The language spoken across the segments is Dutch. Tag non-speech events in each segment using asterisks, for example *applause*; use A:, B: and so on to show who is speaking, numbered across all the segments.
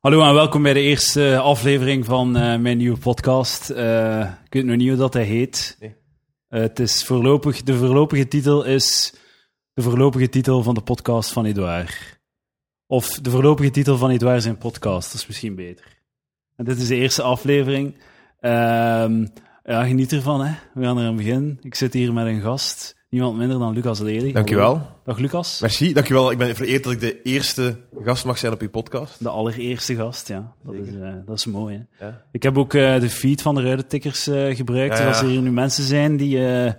A: Hallo en welkom bij de eerste aflevering van eh, mijn nieuwe podcast. Eh, ik weet nog niet hoe dat hij heet.
B: Nee.
A: Eh, het is voorlopig, de voorlopige titel is de voorlopige titel van de podcast van Edouard. Of de voorlopige titel van Edouard zijn podcast, dat is misschien beter. En dit is de eerste aflevering. Ehm, ja, geniet ervan, hè. We gaan er aan beginnen. Ik zit hier met een gast, niemand minder dan Lucas Lely.
B: Dankjewel.
A: Dag Lucas,
B: Merci, dankjewel. Ik ben vereerd dat ik de eerste gast mag zijn op uw podcast.
A: de allereerste gast, ja. Dat, is, eh, dat is mooi, hè.
B: Ja.
A: Ik heb ook eh, de feed van de ruitentikkers eh gebruikt. Dus
B: Ja, ja.
A: als er hier nu mensen zijn die, eh,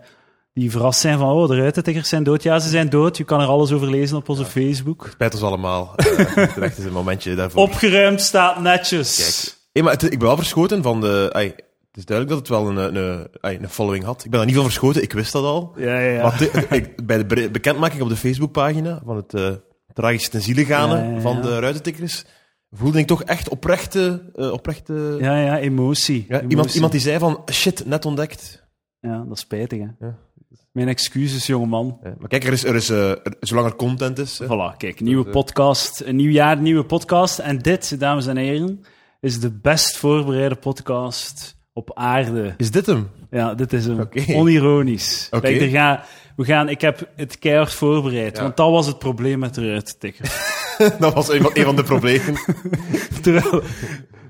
A: die verrast zijn van oh, de ruitentikkers zijn dood. Ja, ze zijn dood. Je kan er alles over lezen op onze Facebook.
B: Spijt ons allemaal. Eh, *laughs* terecht is een momentje daarvoor.
A: Opgeruimd staat netjes.
B: Kijk. Hey, maar het- ik ben wel verschoten van de... ai, het is duidelijk dat het wel een, een, ai, een following had. Ik ben er niet van verschoten, ik wist dat al.
A: Ja, ja, ja.
B: Maar het- ik, bij de bre- bekendmaking op de Facebookpagina van het eh tragisch ten ziele gaan
A: Ja, ja, ja.
B: van de ruitentikkers voelde ik toch echt oprechte... eh, oprechte
A: Ja, ja, emotie.
B: ja, iemand,
A: Emotie.
B: iemand die zei van, shit, net ontdekt.
A: Ja, dat is spijtig, hè.
B: Ja.
A: Mijn excuses, jongeman.
B: Ja, Maar kijk, er is, er is, eh, er- zolang er content is... eh,
A: Voilà, kijk, nieuwe podcast. Een nieuw jaar, nieuwe podcast. En dit, dames en heren, is de best voorbereide podcast op aarde.
B: Is dit hem?
A: Ja, dit is hem.
B: Oké.
A: Onironisch.
B: Oké.
A: Kijk, er gaan- we gaan, ik heb het keihard voorbereid,
B: Ja.
A: want dat was het probleem met eruit tikken. *laughs*
B: *laughs* Dat was een van, een van de problemen.
A: terwijl,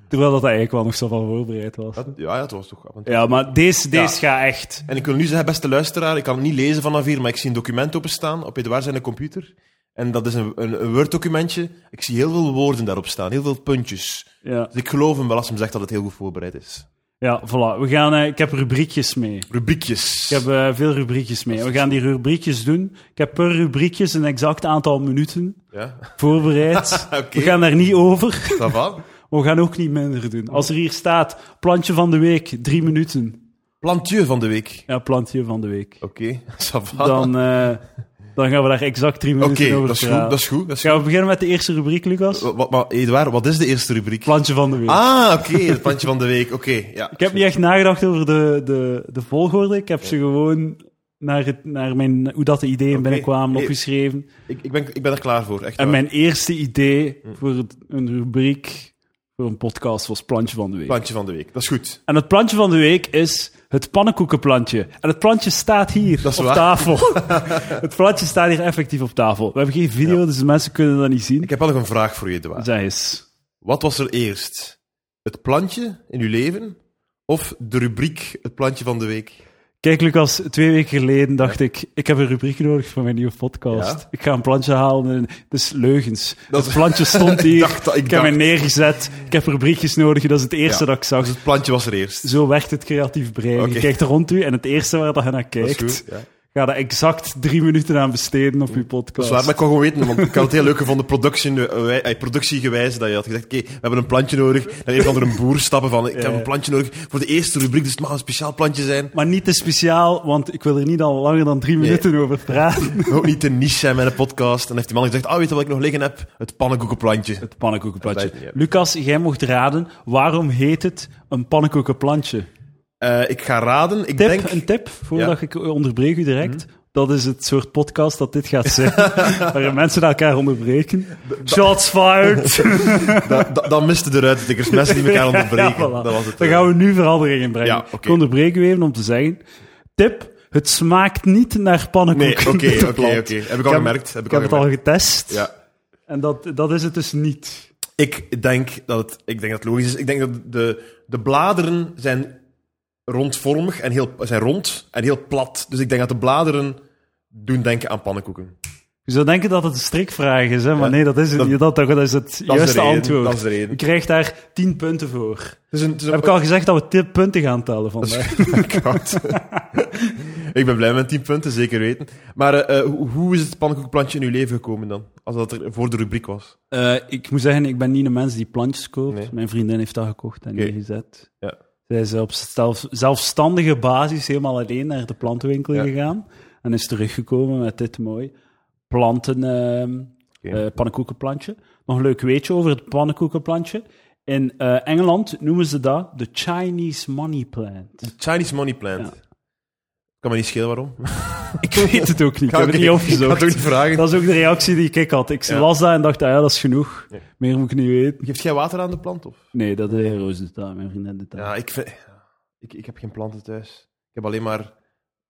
A: terwijl dat eigenlijk wel nog zo van voorbereid was.
B: Ja, ja, het was toch. af en toe.
A: Ja, maar deze, deze gaat echt.
B: En ik wil nu zeggen, beste luisteraar, ik kan het niet lezen vanaf hier, maar ik zie een document openstaan op Edouard zijn computer. En dat is een, een, een Word-documentje. Ik zie heel veel woorden daarop staan, heel veel puntjes.
A: Ja,
B: Dus ik geloof hem wel als hij zegt dat het heel goed voorbereid is.
A: ja voilà. We gaan, eh, ik heb rubriekjes mee.
B: Rubriekjes.
A: Ik heb eh, veel rubriekjes mee. We gaan die rubriekjes doen. Ik heb per rubriekjes een exact aantal minuten
B: Ja,
A: voorbereid.
B: *laughs* Oké.
A: We gaan daar niet over.
B: dat van.
A: We gaan ook niet minder doen. Als er hier staat, plantje van de week, drie minuten.
B: Plantieu van de week.
A: Ja, plantje van de week.
B: Oké, *laughs* ça va.
A: dan, eh, dan gaan we daar exact drie
B: Oké,
A: minuten over
B: dat is goed,
A: praten.
B: dat is goed. Dat is goed.
A: Gaan we beginnen met de eerste rubriek, Lucas?
B: Wa- wa- maar Edouard, wat is de eerste rubriek?
A: Plantje van de week.
B: Ah, oké, het plantje van de week. Oké, ja.
A: ik heb niet echt nagedacht over de, de, de volgorde. Ik heb ze gewoon naar, het, naar mijn, hoe dat de ideeën
B: Oké.
A: binnenkwamen
B: Eh,
A: opgeschreven.
B: Ik, ik, ben, ik ben er klaar voor, echt
A: En
B: waar.
A: mijn eerste idee
B: Hm.
A: voor het- een rubriek voor een podcast was Plantje van de Week.
B: Plantje van de week, dat is goed.
A: En het plantje van de week is het pannenkoekenplantje. En het plantje staat hier
B: Dat is
A: op
B: waar. *laughs*
A: tafel. het plantje staat hier effectief op tafel. We hebben geen video, dus de mensen kunnen dat niet zien.
B: Ik heb wel nog een vraag voor je, Edouard.
A: Zeg eens.
B: Wat was er eerst? Het plantje in uw leven of de rubriek Het plantje van de week?
A: Kijk, Lucas, twee weken geleden dacht ik, ik heb een rubriek nodig voor mijn nieuwe podcast.
B: Ja.
A: Ik ga een plantje halen en het is leugens.
B: Dat
A: Het plantje stond hier, ik,
B: dacht dat- *laughs* ik
A: heb
B: dacht-
A: hem neergezet, ik heb rubriekjes nodig, dat is het eerste
B: Ja.
A: dat ik zag.
B: Dus het plantje was er eerst.
A: Zo werkt het creatief brein. Je
B: Oké.
A: kijkt rond u en het eerste waar dat je naar
B: Dat is
A: kijkt,
B: goed. Ja.
A: ga daar exact drie minuten aan besteden op je
B: Dat
A: podcast.
B: is waar, maar ik kon gewoon weten, want ik had het heel leuk gevonden, production, eh, wij- eh, productiegewijs, dat je had gezegd, oké, we hebben een plantje nodig. En een van een boer stappen van, ik heb
A: ja.
B: een plantje nodig voor de eerste rubriek, dus het mag een speciaal plantje zijn.
A: Maar niet te speciaal, want ik wil er niet al langer dan drie minuten over
B: *laughs*
A: praten.
B: We ook niet te niche zijn met een podcast. En dan heeft die man gezegd, ah, weet je wat ik nog liggen heb? Het pannenkoekenplantje.
A: Het pannenkoekenplantje.
B: Dat blijft niet, hè.
A: Lucas, jij mocht raden, waarom heet het een pannenkoekenplantje?
B: Eh, ik ga raden, ik
A: Tip,
B: denk... Mhm.
A: Een tip, voordat ik onderbreek u direct. Dat is het soort podcast dat dit gaat
B: *laughs*
A: zijn. waarin mensen elkaar onderbreken. Shots fired!
B: Da- da- dan misten de ruitentikkers, mensen die elkaar onderbreken.
A: *laughs* Ja, voilà.
B: Dat was het.
A: Daar
B: eh.
A: gaan we nu verandering in brengen.
B: Ja, oké.
A: Ik onderbreek u even om te zeggen. Tip, het smaakt niet naar
B: Nee,
A: pannenkoeken.
B: oké,
A: met
B: oké,
A: een plant.
B: oké. Heb ik al gemerkt. Heb
A: Ik
B: ik
A: heb
B: al
A: het al
B: gemerkt.
A: getest.
B: Ja.
A: En dat, dat is het dus niet.
B: Ik denk dat het, ik denk dat het logisch is. Ik denk dat de, de bladeren zijn rondvormig en heel, zijn rond en heel plat. Dus ik denk dat de bladeren doen denken aan pannenkoeken.
A: Je zou denken dat het een strikvraag is, hè? maar
B: Ja,
A: nee, dat is het
B: dat-
A: niet. Dat, dat is het
B: de
A: juiste
B: reden,
A: antwoord.
B: dat is de reden.
A: Je krijgt daar 10 punten voor.
B: Dus een, het is een-
A: Heb
B: *laughs*
A: ik al gezegd dat we 10 punten gaan tellen vandaag?
B: Koud. *laughs* ik ben blij met 10 punten, zeker weten. Maar eh, eh, hoe- hoe is het pannenkoekenplantje in uw leven gekomen dan? Als dat er voor de rubriek was.
A: Eh, ik moet zeggen, ik ben niet een mens die plantjes koopt.
B: Nee.
A: Mijn vriendin heeft dat gekocht en
B: Oké.
A: neergezet.
B: Ja.
A: Zij is op zelf- zelfstandige basis helemaal alleen naar de plantenwinkel
B: Ja.
A: gegaan. En is teruggekomen met dit mooi planten, ehm
B: Oké.
A: eh, pannenkoekenplantje. Nog een leuk weetje over het pannenkoekenplantje. In eh, Engeland noemen ze dat de Chinese money plant.
B: Chinese money plant.
A: Ja.
B: Ik Kan me niet schelen waarom. *laughs* Ik
A: Ik weet het ook niet. Ik
B: ga
A: heb
B: *laughs*
A: het niet
B: ga
A: opgezocht.
B: het ook niet vragen.
A: Dat is ook de reactie die ik had. Ik
B: Ja.
A: las dat en dacht, ah ja, dat is genoeg.
B: Ja.
A: Meer moet ik niet weten.
B: Geeft jij water aan de plant? Of?
A: Nee, dat is Roos doet dat, mijn vriendin doet dat.
B: Ja, ik, vind- ik, ik heb geen planten thuis. Ik heb alleen maar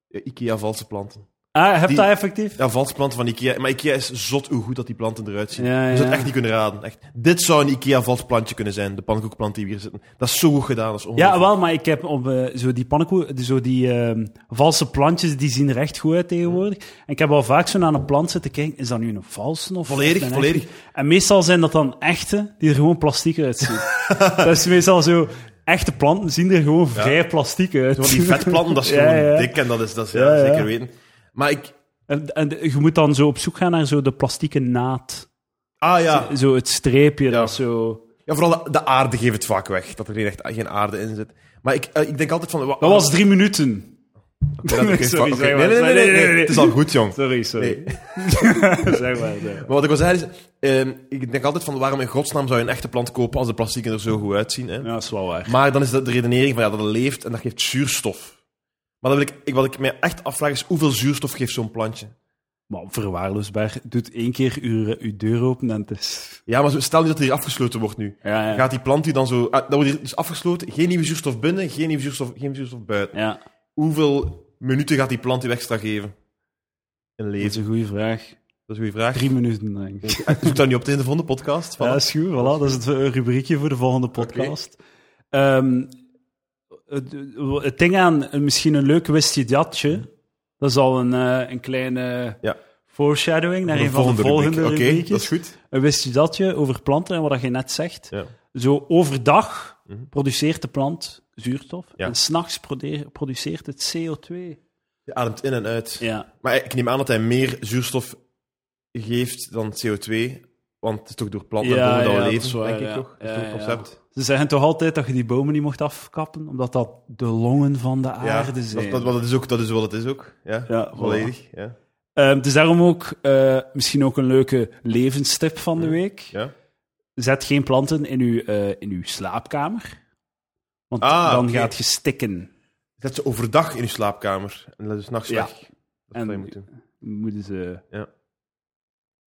B: eh, IKEA-valse planten.
A: Ah, heb
B: Die-
A: dat effectief?
B: Ja, valse planten van IKEA. Maar IKEA is zot hoe goed dat die planten eruit zien.
A: Ja,
B: Je zou het
A: ja.
B: echt niet kunnen raden. Echt. Dit zou een IKEA-vals plantje kunnen zijn, de pannenkoekplant die we hier zitten. Dat is zo goed gedaan. Dat is
A: Ja,
B: ongelooflijk.
A: wel, maar ik heb op, eh, zo die pannenkoek, zo die ehm, valse plantjes, die zien er echt goed uit tegenwoordig. En ik heb al vaak zo naar een plant zitten kijken, is dat nu een valse of
B: Volledig,
A: echt een
B: volledig.
A: echte? En meestal zijn dat dan echte, die er gewoon plastiek
B: *laughs*
A: uitzien. dat is meestal zo, echte planten zien er gewoon vrij plastiek uit.
B: Want die vetplanten, dat is
A: *laughs* Ja,
B: gewoon
A: ja.
B: dik en dat is, dat is
A: Ja,
B: ja,
A: ja.
B: zeker weten. Maar ik...
A: En, en de- je moet dan zo op zoek gaan naar zo de plastieke naad.
B: Ah ja.
A: Zo het streepje, dat zo...
B: ja vooral de, de aarde geeft het vaak weg. Dat er geen, echt, geen aarde in zit. Maar ik, eh, ik denk altijd van... wa-
A: Dat was drie minuten. *laughs*
B: Ja, dat- oké,
A: Sorry,
B: oké.
A: zeg maar.
B: nee, nee, nee, nee, nee,
A: Nee, nee, nee.
B: Het is al goed, jong.
A: Sorry, sorry.
B: Nee.
A: *laughs* zeg maar. zeg maar.
B: Maar wat ik wil zeggen is... ehm, ik denk altijd van, waarom in godsnaam zou je een echte plant kopen als de plastieken er zo goed uitzien? Hè?
A: Ja, dat is wel waar.
B: Maar dan is dat de redenering van, ja, dat leeft en dat geeft zuurstof. Maar dan wil ik, ik, wat ik mij echt afvraag is, hoeveel zuurstof geeft zo'n plantje?
A: Maar verwaarloosbaar. Doet één keer uw, uw deur open en het is...
B: Ja, maar zo- stel nu dat die hier afgesloten wordt nu.
A: Ja, ja.
B: Gaat die plant die dan zo... ah, Dat wordt hier dus afgesloten, geen nieuwe zuurstof binnen, geen nieuwe zuurstof, geen zuurstof buiten.
A: ja.
B: Hoeveel minuten gaat die plant u extra geven? In
A: Dat is
B: leven.
A: een goede vraag.
B: Dat is een goede vraag.
A: Drie minuten, denk ik.
B: Ah, Zoek dat nu op tegen de volgende podcast. Voilà.
A: Ja, is goed. Voilà, dat is het eh, rubriekje voor de volgende podcast. Ehm, het, het ding aan eh, misschien een leuk wist je datje. Dat is al een, eh, een kleine
B: Ja.
A: foreshadowing naar
B: Voor
A: een van de volgende
B: rubriek. Oké,
A: rubriekjes.
B: dat is goed.
A: Een wist je datje over planten en wat dat je net zegt.
B: Ja.
A: Zo overdag
B: Mhm.
A: produceert de plant zuurstof
B: Ja.
A: en s'nachts produceert het CO2.
B: Je ademt in en uit.
A: Ja.
B: Maar ik neem aan dat hij meer zuurstof geeft dan CO2. Want het is toch door planten en
A: Ja,
B: bomen dat we
A: ja, dat
B: leven,
A: is waar,
B: denk ik
A: ja.
B: toch? Dat
A: Ja,
B: is toch een
A: ja.
B: concept.
A: Ze zeggen toch altijd dat je die bomen niet mocht afkappen, omdat dat de longen van de aarde
B: dat,
A: zijn.
B: dat, dat, is ook, dat is wat het is ook. Ja,
A: Ja, voilà.
B: volledig. Ja.
A: Ehm, dus daarom ook eh, misschien ook een leuke levenstip van de week.
B: Ja.
A: Zet geen planten in uw, eh, in uw slaapkamer. Want
B: Ah,
A: dan
B: oké.
A: gaat je stikken.
B: Zet ze overdag in je slaapkamer en laat ze s'nachts
A: Ja.
B: weg. Dat is wat je moet doen.
A: Moeten ze...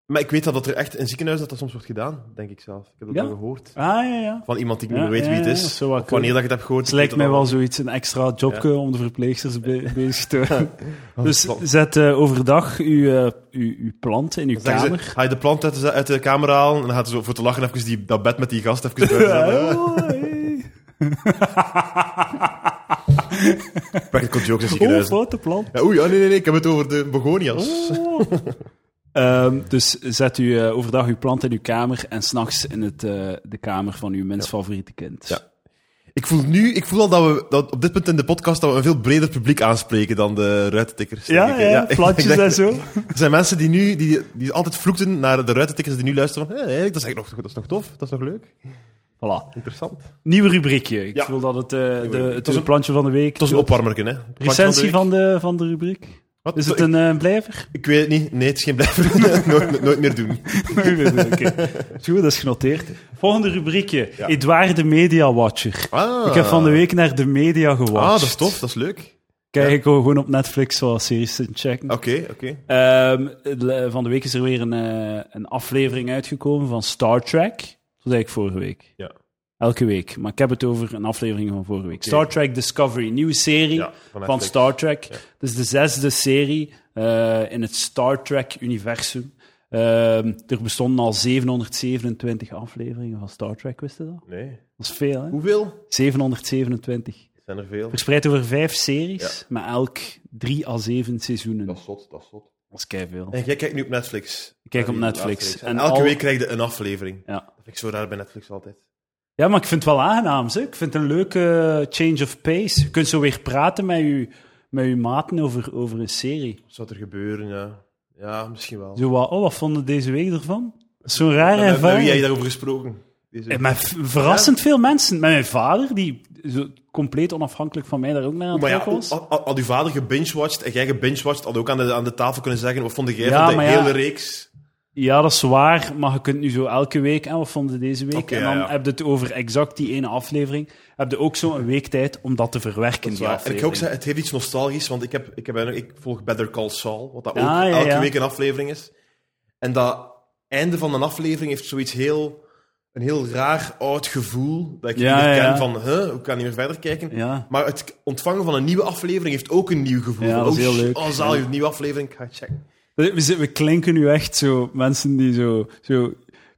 B: Maar ik weet dat, dat er echt in ziekenhuizen dat, dat soms wordt gedaan, denk ik zelf. Ik heb dat
A: Ja?
B: al gehoord.
A: Ah, ja, ja.
B: Van iemand die ik
A: Ja,
B: niet meer weet
A: ja,
B: wie het
A: ja,
B: is.
A: dat zou wel
B: of
A: kunnen.
B: wanneer dat ik het heb gehoord.
A: Het
B: ik
A: lijkt
B: weet
A: mij
B: dat
A: wel
B: allemaal.
A: zoiets, een extra jobke om de verpleegsters be- bezig
B: *laughs*
A: te houden.
B: Dat is
A: Dus
B: het plan.
A: zet eh, overdag uw, eh uw, uw plant in uw
B: Dan zeggen
A: kamer.
B: ze, ga je de plant uit de, uit de kamer halen en dan gaat ze zo voor te lachen even die, dat bed met die
A: *laughs*
B: gast even buiten zetten. Practical jokes in
A: Oh,
B: ziekenhuizen.
A: foute plant.
B: Ja, oei, ah, nee, nee, nee, ik heb het over de
A: Oh.
B: begonias.
A: *laughs* Ehm, dus zet u eh, overdag uw plant in uw kamer en s'nachts in het, eh, de kamer van uw mens favoriete kind.
B: Ja. Ik voel nu, ik voel al dat we dat op dit punt in de podcast dat we een veel breder publiek aanspreken dan de ruitentikkers.
A: Ja,
B: denk
A: ja, *laughs*
B: ik. ik-
A: plantjes
B: ik denk-
A: en zo.
B: Er zijn mensen die nu, die, die altijd vloekten naar de ruitentikkers die nu luisteren van, hé, eigenlijk, dat is eigenlijk nog, dat is nog tof, dat is nog leuk,
A: Voilà.
B: interessant. Het
A: Nieuwe rubriekje. Ik
B: Ja.
A: wil dat het, eh, de,
B: rubriek.
A: het
B: Het
A: is
B: was
A: een plantje van de week. Het
B: was een opwarmerken, hè.
A: recensie van de, van de rubriek. Is het een eh,
B: *laughs*
A: blijver?
B: Ik weet het niet. Nee, het is geen blijver. *laughs* nooit, nooit meer doen.
A: Oké. Is Goed, dat is genoteerd. Volgende rubriekje.
B: Ja.
A: Edouard de Media Watcher.
B: Ah.
A: Ik heb van de week naar de media gewatcht.
B: Ah, dat is tof, dat is leuk.
A: Kijk, ik wil gewoon op Netflix zoals series te checken.
B: Oké, oké.
A: Ehm, de- van de week is er weer een, eh, een aflevering uitgekomen van Star Trek. Dat was eigenlijk vorige week.
B: Ja.
A: Elke week. Maar ik heb het over een aflevering van vorige week. Star Trek Discovery, nieuwe serie
B: Ja,
A: van,
B: van Netflix.
A: Star Trek. Dus de zesde serie eh, in het Star Trek-universum. Ehm, er bestonden al 727 afleveringen van Star Trek, wist je dat?
B: Nee.
A: Dat is veel, hè?
B: Hoeveel?
A: 727.
B: Zijn er veel.
A: Verspreid over vijf series, maar elk drie à zeven seizoenen. Dat
B: is zot, dat is zot.
A: is keiveel.
B: En jij kijkt nu op Netflix.
A: Ik kijk op
B: Ja,
A: Netflix.
B: En,
A: En
B: elke
A: al-
B: week krijg je een aflevering.
A: Ja.
B: Dat vind ik zo raar bij Netflix altijd.
A: Ja, maar ik vind het wel aangenaam. Zeg. Ik vind het een leuke change of pace. Je kunt zo weer praten met je, met je maten over, over een serie.
B: Wat zou er gebeuren, ja. Ja, misschien wel.
A: Zo wat, oh, wat vonden deze week ervan? Dat is Zo'n rare
B: Met- met, met
A: ervaring.
B: wie heb je daarover gesproken? Deze
A: Eh,
B: week?
A: Met v- verrassend veel mensen. Met mijn vader, die zo compleet onafhankelijk van mij daar ook naar aan het
B: Oh, maar ja,
A: kijken was.
B: had, had uw vader gebingewatcht en jij gebingewatcht, had ook aan de, aan de tafel kunnen zeggen, wat vond jij
A: Ja,
B: van de
A: maar
B: hele
A: ja.
B: reeks?
A: Ja, dat is waar, maar je kunt nu zo elke week, en wat vonden we deze week?
B: Oké,
A: en dan
B: ja, ja.
A: heb je het over exact die ene aflevering. Heb je ook zo'n week tijd om dat te verwerken,
B: Dat is
A: die
B: waar. En ik
A: aflevering.
B: kan ook zeggen, het heeft iets nostalgisch, want ik, heb, ik, heb, ik volg Better Call Saul, wat dat ook
A: Ah, ja,
B: elke
A: ja.
B: week een aflevering is. En dat einde van een aflevering heeft zoiets heel... Een heel raar, oud gevoel dat ik
A: Ja,
B: niet meer
A: ja,
B: ken
A: ja.
B: van, huh, hoe kan ik meer verder kijken?
A: Ja.
B: Maar het ontvangen van een nieuwe aflevering heeft ook een nieuw gevoel.
A: Ja,
B: Van,
A: dat is
B: oh,
A: heel
B: sh-
A: leuk.
B: Oh, zaal, je een nieuwe aflevering, ik ga checken.
A: We, zi- we klinken nu echt zo mensen die zo, zo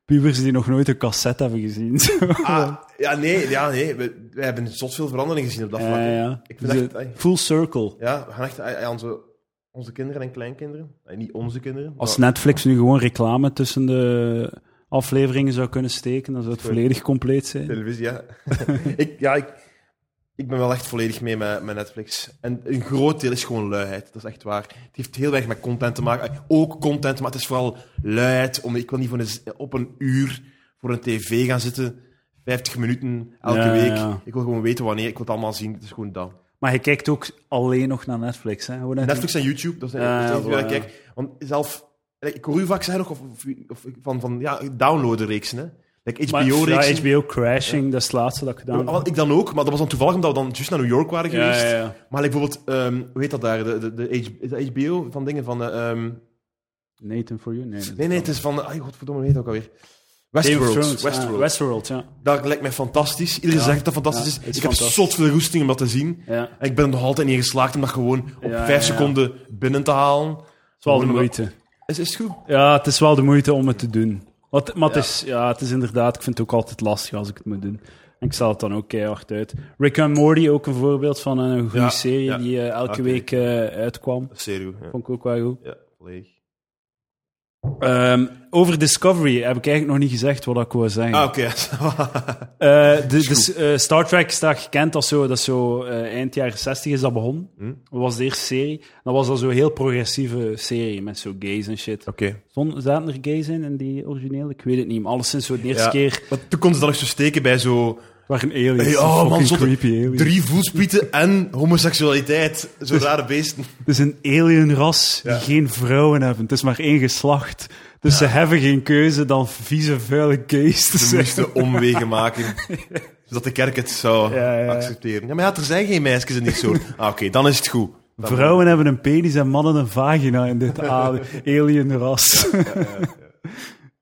A: pubers die nog nooit een cassette hebben gezien. *laughs* Zo.
B: Ah, ja, nee, ja, nee. We, we hebben zot veel veranderingen gezien op dat vlak.
A: Ja,
B: hè.
A: ja.
B: Ik vind
A: Dus,
B: echt-
A: eh,
B: ai.
A: full circle.
B: Ja, we gaan echt ai, ai, onze, onze kinderen en kleinkinderen. Ai, niet onze kinderen.
A: Als
B: maar-
A: Netflix nu gewoon reclame tussen de afleveringen zou kunnen steken, dan zou het
B: Sorry.
A: volledig compleet zijn.
B: Televisie, ja. *laughs* ik, ja, ik, ik ben wel echt volledig mee met, met Netflix. En een groot deel is gewoon luiheid. Dat is echt waar. Het heeft heel weinig met content te maken. Ook content, maar het is vooral luiheid. Om, ik wil niet voor een, z- op een uur voor een tv gaan zitten. 50 minuten elke
A: Ja,
B: week.
A: ja.
B: Ik wil gewoon weten wanneer. Ik wil het allemaal zien. Het is gewoon dat.
A: Maar je kijkt ook alleen nog naar Netflix. Hè? Gewoon uit-
B: Netflix en YouTube, dat zijn
A: Ja,
B: dat is
A: ja,
B: echt waar
A: voilà,
B: ik
A: ja.
B: kijk. Want zelf, ik hoor u vaak zeggen nog of, of, of- van, van ja, downloaden reeksen, hè? Like
A: Maar-
B: HBO-reeksen.
A: ja, HBO Crashing, dat is het laatste dat ik gedaan heb.
B: ik dan ook, maar dat was dan toevallig omdat we dan juist naar New York waren
A: Ja,
B: geweest.
A: ja, ja.
B: Maar like, bijvoorbeeld, ehm, hoe heet dat daar? De, de, de, H- is dat HBO van dingen van. eh, ehm,
A: Nathan for You? Nee, dat
B: nee, nee, het is van. Ay, godverdomme, hoe heet dat ook alweer?
A: Game of
B: Westworld.
A: Thrones, ah,
B: Westworld.
A: Westworld, ja.
B: Dat lijkt mij fantastisch. Iedereen
A: Ja.
B: zegt dat dat fantastisch
A: Ja,
B: is.
A: is
B: Ik
A: fantastisch.
B: heb zot veel roesting om dat te zien.
A: ja.
B: En ik ben er nog altijd niet in geslaagd om dat gewoon op
A: Ja, ja,
B: vijf
A: ja.
B: seconden binnen te halen.
A: Het is wel de
B: Gewoon-
A: moeite.
B: Is, is goed.
A: Ja, het is wel de moeite om het te doen. Wat, maar
B: Ja.
A: het, is, ja, het is inderdaad, ik vind het ook altijd lastig als ik het moet doen. En ik stel het dan ook keihard uit. Rick and Morty, ook een voorbeeld van een goede
B: Ja,
A: serie
B: ja.
A: die eh, elke
B: Oké.
A: week eh, uitkwam.
B: Serio. Ja,
A: Vond ik ook wel goed.
B: ja volledig.
A: Ehm, over Discovery heb ik eigenlijk nog niet gezegd wat ik wou zeggen.
B: Ah, oké. *laughs*
A: Eh, de, de s- eh, Star Trek staat gekend als zo, dat is zo eh, eind jaren 60 is dat begonnen.
B: Hm.
A: Dat was de eerste serie. Dat was dat zo'n heel progressieve serie met zo gays en shit.
B: Oké.
A: Zon, zaten er gays in in die originele? Ik weet het niet, maar alleszins zo de eerste
B: Ja.
A: keer
B: Maar Toen konden ze dan nog zo steken bij zo
A: waren aliens.
B: Hey, oh,
A: Fucking
B: man, zotte
A: creepy aliens.
B: drie voelsprieten en homoseksualiteit. Zo rare
A: *laughs*
B: beesten.
A: Het is een alienras
B: Ja.
A: die geen vrouwen hebben. Het is maar één geslacht. Dus ze hebben geen keuze dan vieze, vuile gays te
B: Ze
A: zijn.
B: moesten omwegen maken. Zodat de kerk het zou
A: Ja, ja, ja.
B: accepteren. Ja, maar ja, er zijn geen meisjes in die soort. Ah, oké, dan is het goed. Dan-
A: Vrouwen hebben een penis en mannen een vagina in dit aarde- alienras.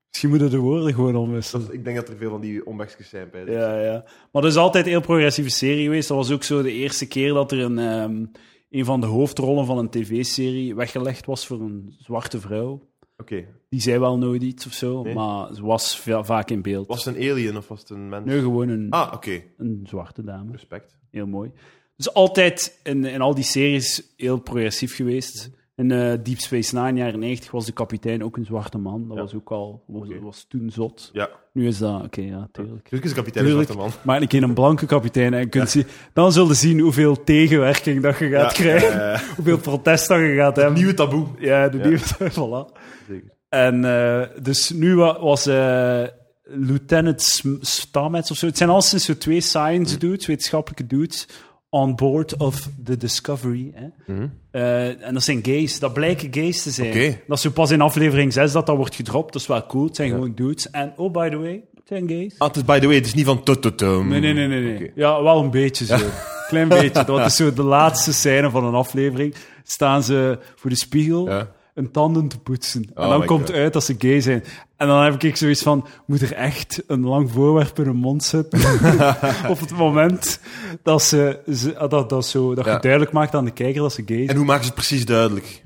A: Misschien moeten de woorden gewoon omwisselen.
B: Ik denk dat er veel van die omwegjes zijn bij.
A: Ja, ja. Maar dat is altijd een heel progressieve serie geweest. Dat was ook zo de eerste keer dat er een, ehm, een van de hoofdrollen van een tv-serie weggelegd was voor een zwarte vrouw.
B: Oké.
A: Die zei wel nooit iets of zo,
B: Nee.
A: maar ze was va- vaak in beeld.
B: Was het een alien of was het een mens?
A: Nu gewoon een,
B: Ah, oké.
A: een zwarte dame.
B: Respect.
A: Heel mooi. Dus altijd in, in al die series heel progressief geweest. In eh, Deep Space Nine, jaren 90, was de kapitein ook een zwarte man. Dat
B: Ja.
A: was ook al, was,
B: Oké.
A: was toen zot.
B: Ja.
A: Nu is dat, oké, ja, tuurlijk.
B: Tuurlijk is de kapitein
A: Tuurlijk.
B: een zwarte man.
A: Maar een keer een blanke kapitein en je kunt zien, dan zul je zien hoeveel tegenwerking dat je gaat
B: Ja, *laughs*
A: krijgen.
B: ja, ja, ja.
A: Hoeveel protest dat je gaat hebben.
B: Nieuwe taboe.
A: Ja, de
B: Ja.
A: nieuwe. *laughs* voilà.
B: Zeker.
A: En eh, dus nu wa- was eh, Lieutenant Sm- Stamets of zo. Het zijn al sinds zo twee
B: Mhm.
A: science dudes, wetenschappelijke dudes, on board of the Discovery. Hè. Eh, en dat zijn gays. Dat blijken gays te zijn.
B: Mhm. Oké.
A: Dat is zo pas in aflevering 6 dat dat wordt gedropt. Dat is wel cool. Het zijn gewoon dudes. En oh, by the way, het zijn gays.
B: Ah, het is by the way, het is niet van tututum.
A: Nee, nee, nee, nee. nee.
B: Oké.
A: Ja, wel een beetje
B: *laughs*
A: zo. Klein beetje. Dat is zo de laatste scène van een aflevering. Staan ze voor de spiegel
B: Ja.
A: hun tanden te poetsen. en
B: Oh
A: dan
B: my
A: komt
B: God.
A: uit dat ze gay zijn. En dan heb ik zoiets van, moet er echt een lang voorwerp in hun mond zitten? *laughs* Op het moment dat, ze, ze- ah, dat, dat, zo, dat
B: Ja.
A: je duidelijk maakt aan de kijker dat ze gay
B: En
A: zijn.
B: hoe maken ze het precies duidelijk?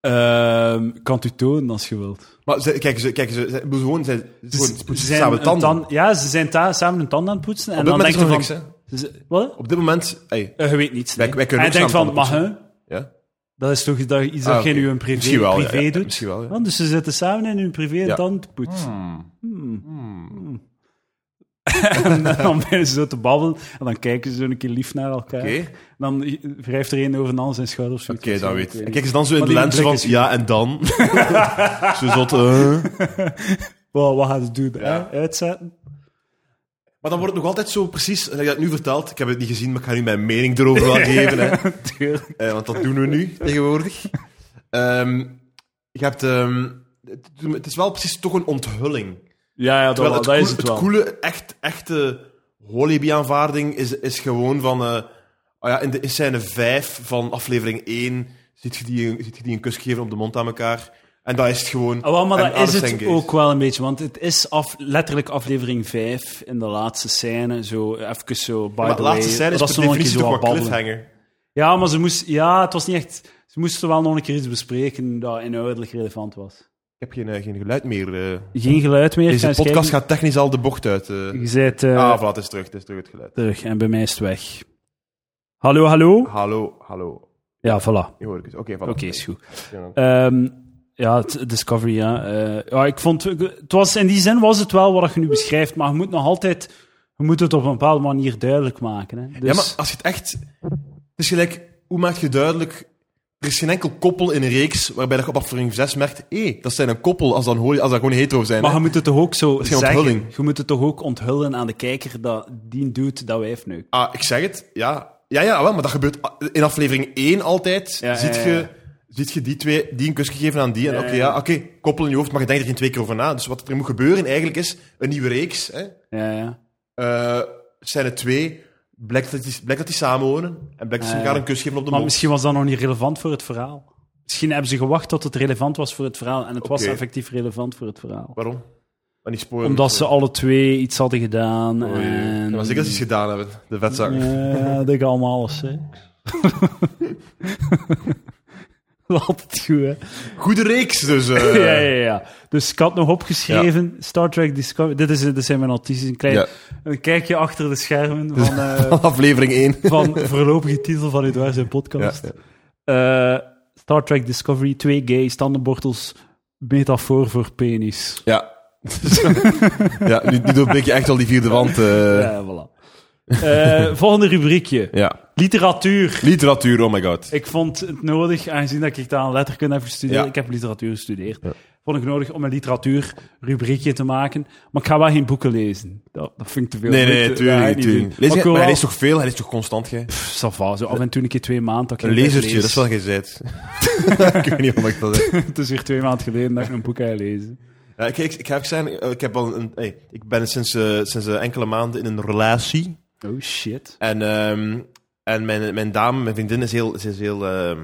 A: Ehm, kan het u tonen als je wilt.
B: Maar ze, kijk, ze, kijk, ze, ze, ze, gewoon, ze, ze, gewoon, ze poetsen
A: Dus zijn
B: samen
A: hun
B: tanden.
A: tan- ja, ze zijn ta- samen hun tanden aan het poetsen. en
B: Op dit
A: dan
B: moment
A: denk
B: is
A: je
B: er
A: van...
B: niks, hè?
A: ze- wat?
B: Op dit moment... Hey,
A: Eh, je weet niets.
B: Wij-
A: nee.
B: wij kunnen
A: en je
B: ook
A: denkt
B: samen
A: van, maar hè?
B: ja?
A: Dat is toch dat, iets dat
B: Ah,
A: jij
B: oké.
A: nu een privé,
B: Misschien wel, ja,
A: privé
B: ja, ja,
A: doet?
B: misschien wel, ja.
A: Want dus ze zitten samen in hun privé
B: Ja. Hmm.
A: en dan te poetsen. *laughs* en dan beginnen ze zo te babbelen en dan kijken ze zo een keer lief naar elkaar.
B: Oké.
A: Dan wrijft er een over een ander zijn schouder of zoiets.
B: Oké,
A: Of
B: dat
A: zo,
B: weet
A: ik
B: ik.
A: niet.
B: Kijk eens dan zo in
A: Maar
B: de
A: die
B: lens van...
A: blik is-
B: Ja, en dan?
A: *laughs*
B: zo zot... eh.
A: Wow, wat gaat het doen?
B: Ja.
A: hè? Uitzetten? *laughs*
B: Maar dan wordt het nog altijd zo precies... En ik dat nu verteld. Ik heb het niet gezien, maar ik ga nu mijn mening erover wel
A: *laughs*
B: geven. Hè.
A: Tuurlijk.
B: Eh, want dat doen we nu, tegenwoordig. Ehm, je hebt... ehm, het, het is wel precies toch een onthulling.
C: Ja, ja dat,
B: Terwijl
C: wel, dat
B: het,
C: is
B: coole,
C: het wel.
B: coole, echt, echte Walibi-aanvaarding is, is gewoon van... eh, ah ja, in, de, in scène 5 van aflevering 1 ziet je, die, ziet je die een kus geven op de mond aan elkaar. En dat is het gewoon.
A: Ah, wel, maar
B: En
A: dat
B: alles
A: is
B: zijn
A: het
B: gays.
A: ook wel een beetje, want het is af, letterlijk aflevering 5 in de laatste scène, zo even zo, by
B: maar
A: the
B: de laatste
A: way,
B: scène is
A: dat
B: per
A: ze nog een keer zo
B: definitie toch
A: wat
B: wel
A: babbelen.
B: cliffhanger.
A: Ja, maar ze, moest, ja, het was niet echt, ze moesten wel nog een keer iets bespreken dat inhoudelijk relevant was.
B: Ik heb geen, eh, geen geluid meer. eh.
A: Geen geluid meer.
B: Deze
A: ga eens
B: podcast
A: kijken.
B: gaat technisch al de bocht uit. eh.
A: Je zit eh,
B: Ah, voilà, het is terug. Het is terug het geluid.
A: terug en bij mij is het weg. Hallo, hallo?
B: Hallo, hallo.
A: Ja, voilà.
B: Je hoort het. Oké, voilà.
A: Oké, is goed.
B: Ja.
A: Ehm, ja, het- Discovery, ja. Eh, ja ik vond, het was, in die zin was het wel wat je nu beschrijft, maar je moet nog altijd, je moet het op een bepaalde manier duidelijk maken. Hè. Dus,
B: Ja, maar als je het echt... Het is gelijk, hoe maak je duidelijk... Er is geen enkel koppel in een reeks waarbij je op aflevering 6 merkt... Hé, dat zijn een koppel als, dan hoor je, als dat gewoon hetero zijn.
A: maar
B: hè.
A: je moet het toch ook zo
B: geen
A: zeggen,
B: onthulling.
A: je moet het toch ook onthullen aan de kijker dat die doet dat wijf neukt.
B: Ah, ik zeg het, ja. Ja, ja, wel, maar dat gebeurt a- in aflevering 1 altijd.
A: Ja,
B: ziet,
A: ja, ja.
B: Je, ziet je die twee, die een kus gegeven aan die. En
A: Ja,
B: oké,
A: ja.
B: ja, oké, koppel in je hoofd, maar je denkt er geen twee keer over na. Dus wat er moet gebeuren eigenlijk is, een nieuwe reeks... Hè,
A: Ja, ja.
B: Eh scène 2, blijkt dat, die, blijkt dat die samenwonen. En blijkt dat ze
A: Ah,
B: elkaar
A: ja.
B: een kus geven op de
A: Maar
B: mond.
A: misschien was dat nog niet relevant voor het verhaal. Misschien hebben ze gewacht tot het relevant was voor het verhaal en het was
B: Oké.
A: effectief relevant voor het verhaal.
B: Waarom? Maar niet sporen.
A: Omdat ze alle twee iets hadden gedaan.
B: Oei, oei.
A: en...
B: Dat was ik dat ze iets gedaan hebben, de vetzakken.
A: Ja, dat ik allemaal alles hè.
B: *laughs*
A: Altijd goed, hè?
B: Goede reeks, dus. *laughs* eh.
A: Ja, ja, ja. Dus ik had nog opgeschreven, Star Trek Discovery... Dit, is, dit zijn mijn notities, een klein
B: Ja.
A: een kijkje achter de schermen van, eh,
B: *laughs* Aflevering 1. *laughs*
A: van voorlopige titel van Edouard zijn podcast. Eh, Star Trek Discovery, twee gay standenbortels, metafoor voor penis.
B: Ja. *laughs* ja, nu, nu doorbreek je echt al die vierde wand. eh. ja.
A: Ja, voilà. Eh, volgende rubriekje. Literatuur.
B: Literatuur, oh my god.
A: Ik vond het nodig, aangezien dat ik daar aan letterkunde heb gestudeerd.
B: Ja.
A: Ik heb literatuur gestudeerd.
B: Ja.
A: Vond ik nodig om een literatuurrubriekje te maken. Maar ik ga wel geen boeken lezen. Dat, dat vind ik te veel.
B: Nee,
A: moeite.
B: nee,
A: Dat ga
B: nee, tuurlijk
A: ik
B: niet.
A: doen.
B: Tuurlijk. Lees
A: Maar ik
B: je-
A: wil
B: maar hij
A: wel-
B: leest toch veel? Hij leest toch constant, gij?
A: Pff, ça va, zo af en toe een keer twee maanden. dat ik
B: Een
A: geen boek
B: lezertje,
A: lees.
B: dat is wat gij *laughs* zijt. ik weet niet of ik dat... eh.
A: *laughs* Het is weer twee maanden geleden dat ik een boek ga lezen.
B: Ja, ik, ik, ik ga even zeggen, eh, ik, heb al een, hey, ik ben sinds, eh, sinds eh, enkele maanden in een relatie.
A: Oh shit.
B: En, ehm, en mijn, mijn dame, mijn vriendin, is heel, ze is heel, ehm,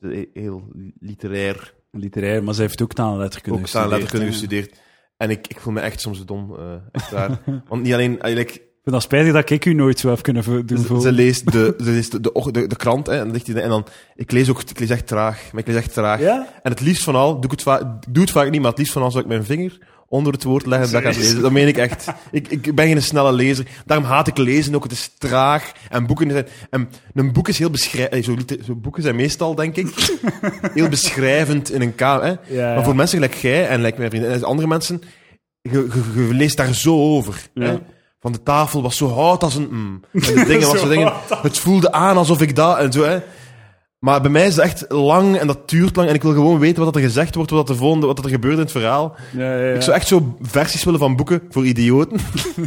B: ze- heel literair.
A: Literair, maar ze heeft ook taal en letterkunde
B: Ook staan
A: gestudeerd,
B: letterkunde
A: hè.
B: gestudeerd. En ik, ik voel me echt soms dom. eh,
A: *laughs*
B: echt waar. Want niet alleen, eigenlijk,
A: Ik vind dat spijtig dat ik u nooit zo heb kunnen vo- doen
B: ze,
A: voor.
B: ze leest, de, ze leest de, de, och- de, de krant hè, en, dan ligt die, en dan, ik lees ook, ik lees echt traag. Maar ik lees echt traag.
A: Ja?
B: En het liefst van al, doe ik, het va- ik doe het vaak niet, maar het liefst van al zou ik mijn vinger onder het woord leggen dat ik aan het
A: Serieus?
B: lezen. Dat meen ik echt. Ik, ik ben geen snelle lezer. Daarom haat ik lezen ook. Het is traag. En boeken zijn... En een boek is heel beschrijvend. Zo, liter- zo boeken zijn meestal, denk ik, heel beschrijvend in een kamer. Hè?
A: Ja,
B: Maar voor mensen gelijk jij en gelijk mijn vrienden en andere mensen, je, je- je leest daar zo over.
A: Ja.
B: Hè? Van de tafel was zo hout als een mm. En de
A: *laughs*
B: dingen was
A: Zo
B: zo dingen. Het voelde aan alsof ik dat en zo. Hè? Maar bij mij is het echt lang en dat duurt lang. En ik wil gewoon weten wat dat er gezegd wordt, wat, dat er, volgende, wat dat er gebeurt in het verhaal.
A: Ja, ja, ja.
B: Ik zou echt zo versies willen van boeken voor idioten.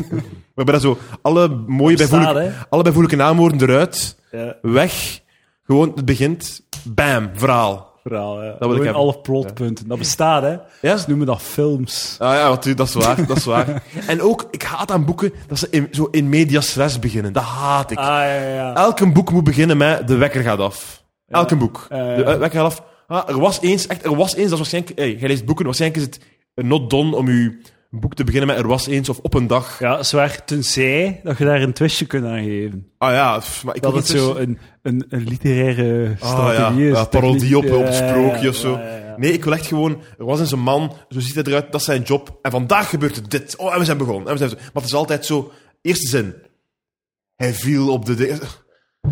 B: *laughs* Waarbij dat zo alle mooie
A: Bestaat,
B: bijvoeglijke,
A: hè?
B: alle bijvoeglijke naamwoorden eruit,
A: Ja,
B: weg. Gewoon, het begint. Bam, verhaal.
A: verhaal, ja.
B: wil ik
A: Gewoon
B: hebben.
A: alle plotpunten. Dat bestaat, hè?
B: Ja?
A: Ze noemen dat films.
B: Ah ja, wat, dat is waar, dat is waar. *laughs* En ook, ik haat aan boeken dat ze in, zo in medias res beginnen. Dat haat ik.
A: Ah, ja, ja.
B: Elk boek moet beginnen met de wekker gaat af. Elk boek.
A: Ja, ja.
B: De we- wekker gaat af. Ah, er was eens, echt, er was eens, dat is waarschijnlijk... Hey, jij leest boeken, waarschijnlijk is het not done om je boek te beginnen met er was eens of op een dag.
A: Ja, zwaar. Tenzij dat je daar een twistje kunt aan geven.
B: Ah ja, pff, maar ik
A: Dat
B: wil
A: het
B: niet tussen-
A: zo een, een, een literaire
B: Ah,
A: strategie
B: ja.
A: is.
B: Ja, parodie op,
A: techniek.
B: op
A: Ja,
B: sprookje
A: ja,
B: of zo.
A: ja, ja, ja.
B: Nee, ik wil echt gewoon... Er was eens een man, zo ziet hij eruit, dat is zijn job. En vandaag gebeurt er dit. Oh, en we zijn begonnen. En we zijn, maar het is altijd zo... Eerste zin. Hij viel op de... ding-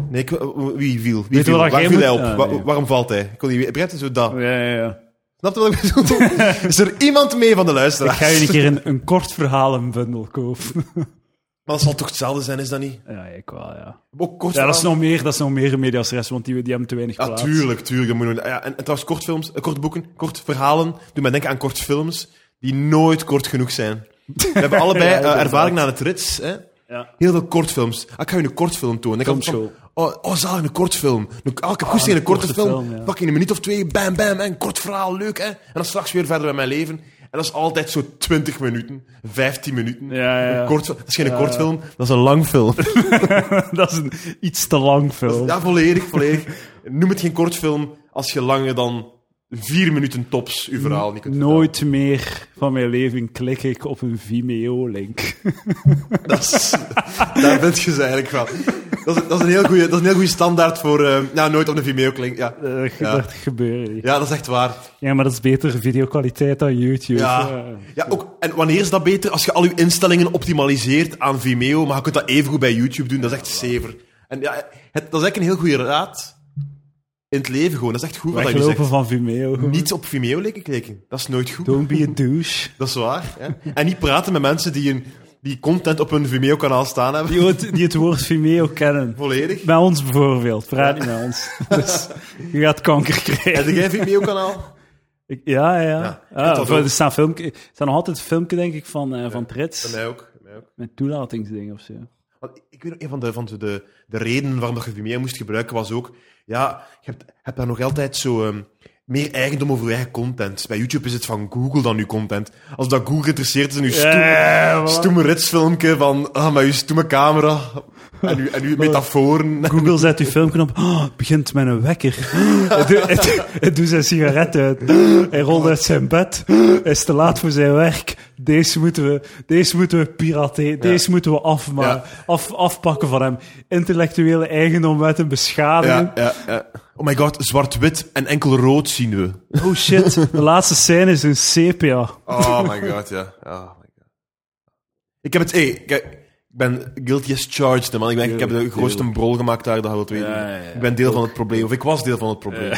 B: Nee, ik, wie viel? Wie
A: je
B: viel?
A: wat dat
B: Waar
A: jij
B: viel
A: moet-
B: hij op?
A: Ah,
B: Wa-
A: nee.
B: waarom valt hij? Ik wil niet weten. Begrijpt u zo dat?
A: Ja, ja, ja.
B: Snap je wat ik bedoel?
A: *laughs*
B: is er iemand mee van de
A: Ik
B: luisteraars?
A: ga jullie een keer een, een kort verhalenbundel
B: *laughs*
A: kopen.
B: Maar dat zal toch hetzelfde zijn, is dat niet?
A: Ja, ik wel, ja.
B: Ook kort
A: Ja, dat is
B: verhaal-
A: nog meer, dat is nog meer een mediasres, want die, die hebben te weinig
B: Ja,
A: plaats.
B: Ah, tuurlijk, tuurlijk. Dat moet je doen. ja, en, en trouwens, kort films, eh, kort boeken, kort verhalen. Doe mij denken aan
A: *laughs*
B: kort films die nooit kort genoeg zijn. We hebben allebei
A: Ja,
B: eh,
A: inderdaad.
B: ervaring na het rits. Hè?
A: Ja. *laughs*
B: Heel veel kortfilms. Ah, ik ga je een kortfilm tonen. Ik had
A: Filmschool.
B: van- Oh, oh zalig, een kortfilm. Een- ah, ik heb goed een, een korte,
A: korte
B: film.
A: film, ja.
B: Pak in een minuut of twee, bam, bam, en kort verhaal, leuk, hè. En dan straks weer verder met mijn leven. En dat is altijd zo 20 minuten, 15 minuten.
A: Ja, ja, ja.
B: Een kort, dat is geen
A: Ja, ja.
B: kortfilm, dat is een lang film.
A: dat is een iets te lang film.
B: Ja, volledig, volledig. *laughs* Noem het geen kortfilm als je langer dan vier minuten tops je verhaal niet kunt
A: Nooit meer van mijn leven klik ik op een Vimeo-link. *laughs*
B: vertellen. *laughs* Dat is, daar bent je ze eigenlijk van. Dat is, dat is een heel goede- dat is een heel goede standaard voor... eh, nou, nooit op de Vimeo klinkt. Ja.
A: Dat ge-
B: Ja.
A: Eh, Dat gebeurt niet.
B: ja, dat is echt waar.
A: Ja, maar dat is betere videokwaliteit dan YouTube.
B: Ja. ja ook, en wanneer is dat beter? Als je al je instellingen optimaliseert aan Vimeo, maar je kunt dat even goed bij YouTube doen, dat is echt zever. En ja, het, dat is echt een heel goede raad in het leven gewoon. Dat is echt goed wat dat je
A: Weglopen
B: zegt.
A: van Vimeo.
B: *laughs* Niet op Vimeo leken klikken, dat is nooit goed.
A: Don't be a douche.
B: Dat is waar. Hè? En niet praten met mensen die, een, die content op hun Vimeo-kanaal staan hebben.
A: Die het, die het woord Vimeo kennen. *laughs*
B: Volledig.
A: Bij ons bijvoorbeeld. Praat niet met ons. Dus je gaat kanker krijgen.
B: Heb jij een Vimeo-kanaal? *laughs*
A: Ik- ja, ja.
B: Ja,
A: ja.
B: ik had dat
A: voor-
B: ook.
A: er staan filmpje, er staan nog altijd een filmpje, denk ik, van, eh van
B: Bij
A: Trits.
B: mij ook. bij mij ook.
A: Met toelatingsdingen of zo.
B: Want ik weet nog, een van, de, van de, de, de redenen waarom dat je Vimeo moest gebruiken was ook... Ja, je hebt, hebt daar nog altijd zo... ehm, meer eigendom over je eigen content. Bij YouTube is het van Google dan uw content. Als dat Google geïnteresseerd is in uw stoeme,
A: Ja, voilà.
B: stoeme ritsfilmpje van... Ah, met uw stoeme
A: *laughs*
B: camera en uw, en uw metaforen.
A: Google zet uw filmknop. Oh, het begint met een wekker. Het doet- het- Het doet zijn sigaret uit. Hij rolt uit zijn bed. Hij is te laat voor zijn werk. Deze moeten we, deze moeten we pirateren. Deze moeten we afmaken, af, afpakken van hem. Intellectuele eigendom met een beschadiging.
B: Ja, ja, ja. Oh my god, zwart-wit en enkel rood zien we.
A: Oh shit, de laatste scène is een sepia.
B: Oh my god, ja. Oh my god. Ik heb het... Hey, ik, eh, ik ben guilty as charged, hè, man. Ik, ben, ik heb de
A: Tuurlijk,
B: grootste
A: tuurlijk.
B: brol gemaakt daar, dat je wilt weten.
A: Ja, ja, ja.
B: Ik ben deel van het probleem, of ik was deel van het probleem.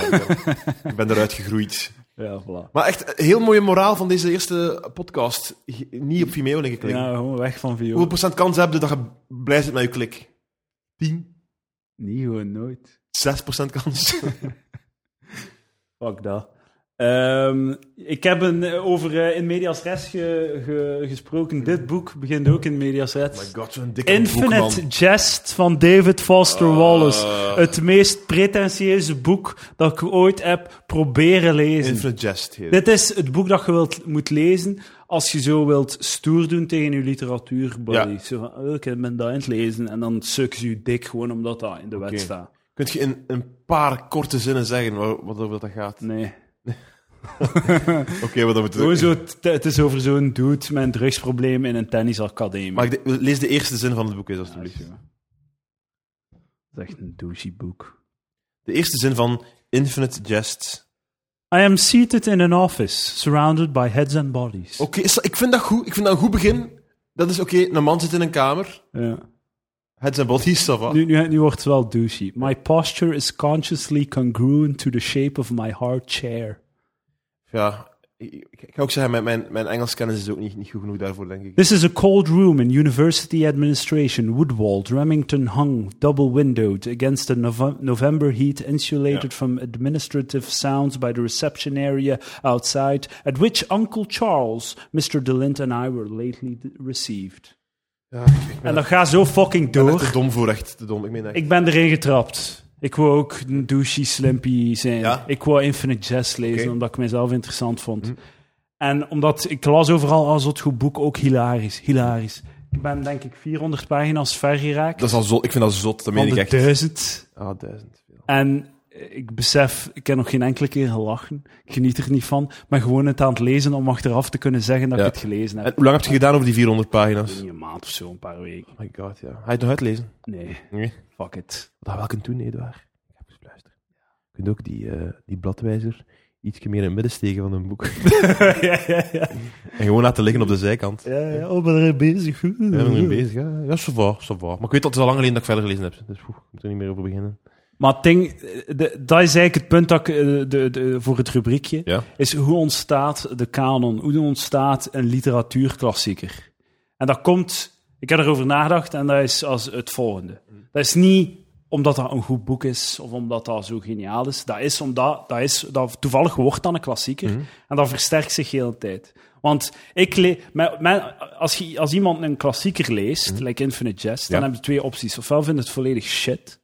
B: Ik ben eruit gegroeid.
A: Ja, voilà.
B: Maar echt, een heel mooie moraal van deze eerste podcast. G- Niet op Vimeo linken klikken.
A: Ja, gewoon weg van Vio.
B: Hoeveel procent kans heb je dat je blij bent met je klik? 10?
A: Nee, gewoon nooit.
B: 6 procent *laughs* kans?
A: Fuck dat. Ehm, ik heb een, eh, over eh, In Medias Res ge- ge- gesproken. Dit boek begint ook in Medias
B: Oh my
A: Res.
B: god, zo'n dikke
A: Infinite
B: boek, man.
A: Jest van David Foster Wallace.
B: Ah.
A: Het meest pretentieuze boek dat ik ooit heb proberen lezen.
B: Infinite Jest. heet het.
A: Dit is het boek dat je wilt, moet lezen als je zo wilt stoer doen tegen je literatuurbody.
B: Ja.
A: Zo van, oh, ik ben dat aan het lezen. En dan suk je je dik gewoon omdat dat in de wet
B: Oké.
A: staat.
B: Kunt je in een paar korte zinnen zeggen waar, wat over dat *laughs* gaat?
A: Nee.
B: Oké, wat dan moeten we
A: Gewoon zo, het- het is over zo'n dude met een drugsprobleem in een tennisacademie.
B: Maar ik de- lees de eerste zin van het boek eens, alstublieft.
A: Dat is echt een douchey boek.
B: De eerste zin van Infinite Jest.
A: I am seated in an office, surrounded by heads and bodies.
B: Oké, is dat- ik vind dat goed. Ik vind dat een goed begin. Dat is oké, een man zit in een kamer.
A: Ja.
B: Het zijn bodies, ça va.
A: Nu, nu, nu wordt het wel douchey. My posture is consciously congruent to the shape of my hard chair.
B: Ja, ik, ik- ik ga ook zeggen, mijn, mijn, mijn Engels kennis is ook niet, niet goed genoeg daarvoor, denk ik.
A: This is a cold room in university administration, woodwalled, Remington hung, double windowed, against a Nov- November heat, insulated from administrative sounds by the reception area outside, at which Uncle Charles, Mr. DeLint, and I were lately d- received.
B: Ja, ik
A: En dat gaat zo fucking
B: ben echt te
A: door.
B: dom voor, echt te dom. Ik meen echt.
A: Ik ben erin getrapt. Ik wou ook een douchey slimpy zijn.
B: Ja?
A: Ik wou Infinite Jest lezen,
B: Oké. Mhm.
A: omdat ik mezelf interessant vond. En omdat ik las overal als het goed boek ook hilarisch. Hilarisch. Ik ben denk ik 400 pagina's ver geraakt.
B: dat is al zot. Ik vind dat zot, dat meen
A: van
B: ik
A: de
B: echt.
A: 1000.
B: Ah, duizend. veel.
A: En ik besef, ik heb nog geen enkele keer gelachen. Ik geniet er niet van. Maar gewoon het aan het lezen om achteraf te kunnen zeggen dat
B: Ja.
A: ik het gelezen heb.
B: En hoe lang heb je gedaan over die 400 pagina's?
A: In een maand of zo, een paar weken.
B: Oh my god, ja. Ga je het nog uitlezen?
A: Nee,
B: Nee.
A: fuck
B: *laughs*
A: it.
B: Wat je wel kunt doen, Edouard. Ik heb eens luisteren. Je kunt ook die, eh, die bladwijzer iets meer in het midden steken van een boek.
A: ja, ja, ja.
B: en gewoon laten liggen op de zijkant.
A: Ja, ja, oh, ben erin bezig.
B: Ja, ik ben ermee bezig. Ja, ja ça va, ça va. Maar ik weet dat het al lang geleden dat ik verder gelezen heb. Dus poeh, ik moet er niet meer over beginnen.
A: Maar het ding, eh, de- dat is eigenlijk het punt dat ik, eh, de, de, voor het rubriekje,
B: Ja.
A: is hoe ontstaat de kanon? Hoe ontstaat een literatuurklassieker? En dat komt, ik heb erover nagedacht en dat is als het volgende. Dat is niet omdat dat een goed boek is of omdat dat zo geniaal is. Dat is omdat dat is, dat toevallig wordt dan een klassieker
B: Mhm.
A: en dat versterkt zich heel de tijd. Want ik le- mijn- mijn- als, je, als iemand een klassieker leest, like Infinite Jest, dan
B: Mhm. Ja. Mhm.
A: heb je twee opties. Ofwel vind je het volledig shit,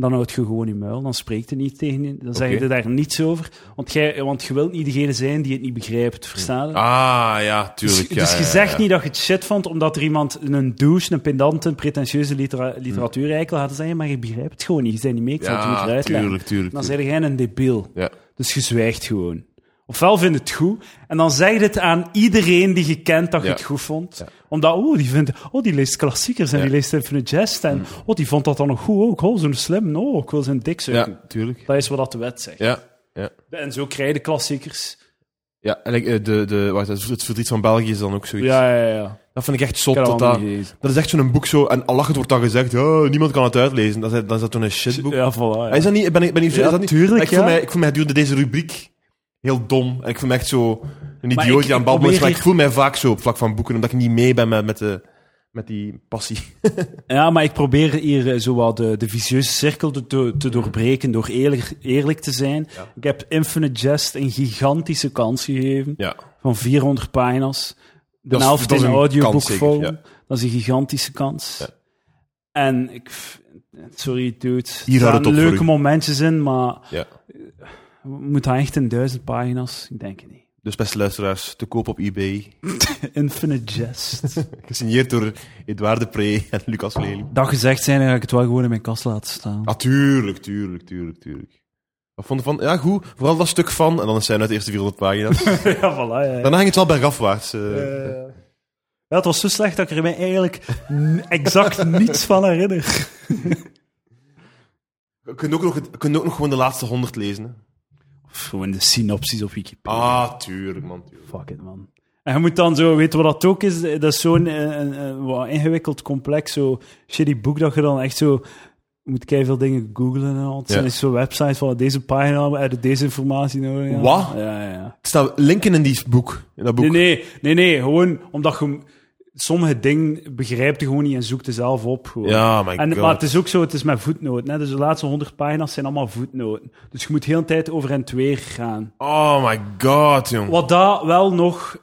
A: dan houdt je gewoon je muil, dan spreekt er niet tegen je, dan zeg je
B: Oké.
A: er daar niets over. Want, jij, want je wilt niet degene zijn die het niet begrijpt, verstaan?
B: Ah, ja, tuurlijk.
A: Dus,
B: ja,
A: dus je
B: ja,
A: zegt
B: ja.
A: niet dat je het shit vond omdat er iemand een douche, een pedante, een pretentieuze litera literatuureikel had zijn, maar je begrijpt het gewoon niet. Je bent niet mee, ik zal het je niet
B: Hm. Ja,
A: uitleggen.
B: tuurlijk, tuurlijk.
A: Dan
B: tuurlijk.
A: zeg jij een debiel.
B: Ja.
A: Dus je zwijgt gewoon. Ofwel vind je het goed, en dan zeg je het aan iedereen die je kent dat je
B: Ja.
A: het goed vond.
B: Ja.
A: Omdat, oh die, vindt, oh, die leest klassiekers en
B: Ja. Hm.
A: die leest Infinite Jest. En, oh, die vond dat dan nog goed ook. Oh, zo'n slim. Oh, ik wil zijn dik zuigen.
B: ja, tuurlijk.
A: Dat is wat dat de wet zegt.
B: Ja, ja.
A: En zo krijg je de klassiekers.
B: Ja, en ik, eh, de, de, wacht, het het verdriet van België is dan ook zoiets.
A: Ja, ja, ja.
B: Dat vind ik echt
A: Ik
B: zot.
A: heb
B: Dat,
A: dat
B: dat,
A: niet gelezen.
B: dat is echt zo'n boek zo. En al lachend wordt dan gezegd: oh, niemand kan het uitlezen. Dat is, dat is dat toen een shitboek.
A: Ja, voilà. ja.
B: Ah, Is dat niet? Ben ik, ben ik,
A: Ja,
B: is dat niet?
A: tuurlijk,
B: maar ik, voel
A: ja.
B: mij, ik voel mij gedurende deze rubriek heel dom. En ik voel me echt zo een
A: Maar
B: idioot
A: ik-
B: die aan
A: ik
B: bal is.
A: probeer
B: Maar ik
A: hier-
B: voel mij vaak zo op vlak van boeken, omdat ik niet mee ben met, met, de, met die passie.
A: Ja, maar ik probeer hier eh, zo wat de, de vicieuze cirkel te, te- te doorbreken door eerlijk, eerlijk te zijn.
B: Ja.
A: Ik heb Infinite Jest een gigantische kans gegeven
B: Ja.
A: van 400 pagina's. De
B: Dat is-
A: helft
B: dat is
A: in
B: een kans zeker,
A: audioboekvorm.
B: ja.
A: Dat is een gigantische kans.
B: Ja.
A: En ik... Sorry, dude. er
B: Hier houdt het
A: staan
B: op voor
A: leuke
B: u.
A: momentjes in, maar
B: ja.
A: moet dat echt in duizend pagina's? Ik denk het niet.
B: Dus beste luisteraars, te koop op eBay.
A: Infinite Jest.
B: Gesigneerd door Edouard de Pre en Lucas Lely.
A: dat gezegd zijn, dan ga ik het wel gewoon in mijn kast laten staan.
B: Natuurlijk, tuurlijk, tuurlijk, tuurlijk. Wat vond je van? Ja, goed. Vooral dat stuk van. En dan zijn het de eerste 400
A: *laughs*
B: pagina's.
A: *laughs* ja, voilà. ja, ja.
B: Daarna ging het wel bergafwaarts. eh.
A: Eh, ja, het was zo slecht dat ik er mij eigenlijk n- exact *laughs* niets van herinner.
B: Je kunt ook, nog, het- je kunt ook nog gewoon de laatste 100 lezen. hè.
A: Of gewoon de synopsis op Wikipedia.
B: Ah, tuurlijk, man. Tuurlijk.
A: Fuck it, man. En je moet dan zo, weet je wat dat ook is? Dat is zo'n eh, eh, eh, wat ingewikkeld, complex, zo shitty boek dat je dan echt zo... Je moet keihard veel dingen googlen en al. Het zijn
B: Ja.
A: dus zo'n websites van deze pagina, we hebben deze informatie nodig. ja.
B: Wat?
A: Ja, ja, ja.
B: Er staan linken in die boek. In dat boek.
A: Nee, nee, nee, nee. Gewoon omdat je... Sommige dingen begrijpt je gewoon niet en zoekt er zelf op. Gewoon.
B: Ja, my
A: En,
B: god.
A: maar het is ook zo, het is met voetnoten. Hè? Dus de laatste 100 pagina's zijn allemaal voetnoten. Dus je moet heel de tijd over en twee gaan.
B: Oh my god, jong.
A: Wat daar wel nog,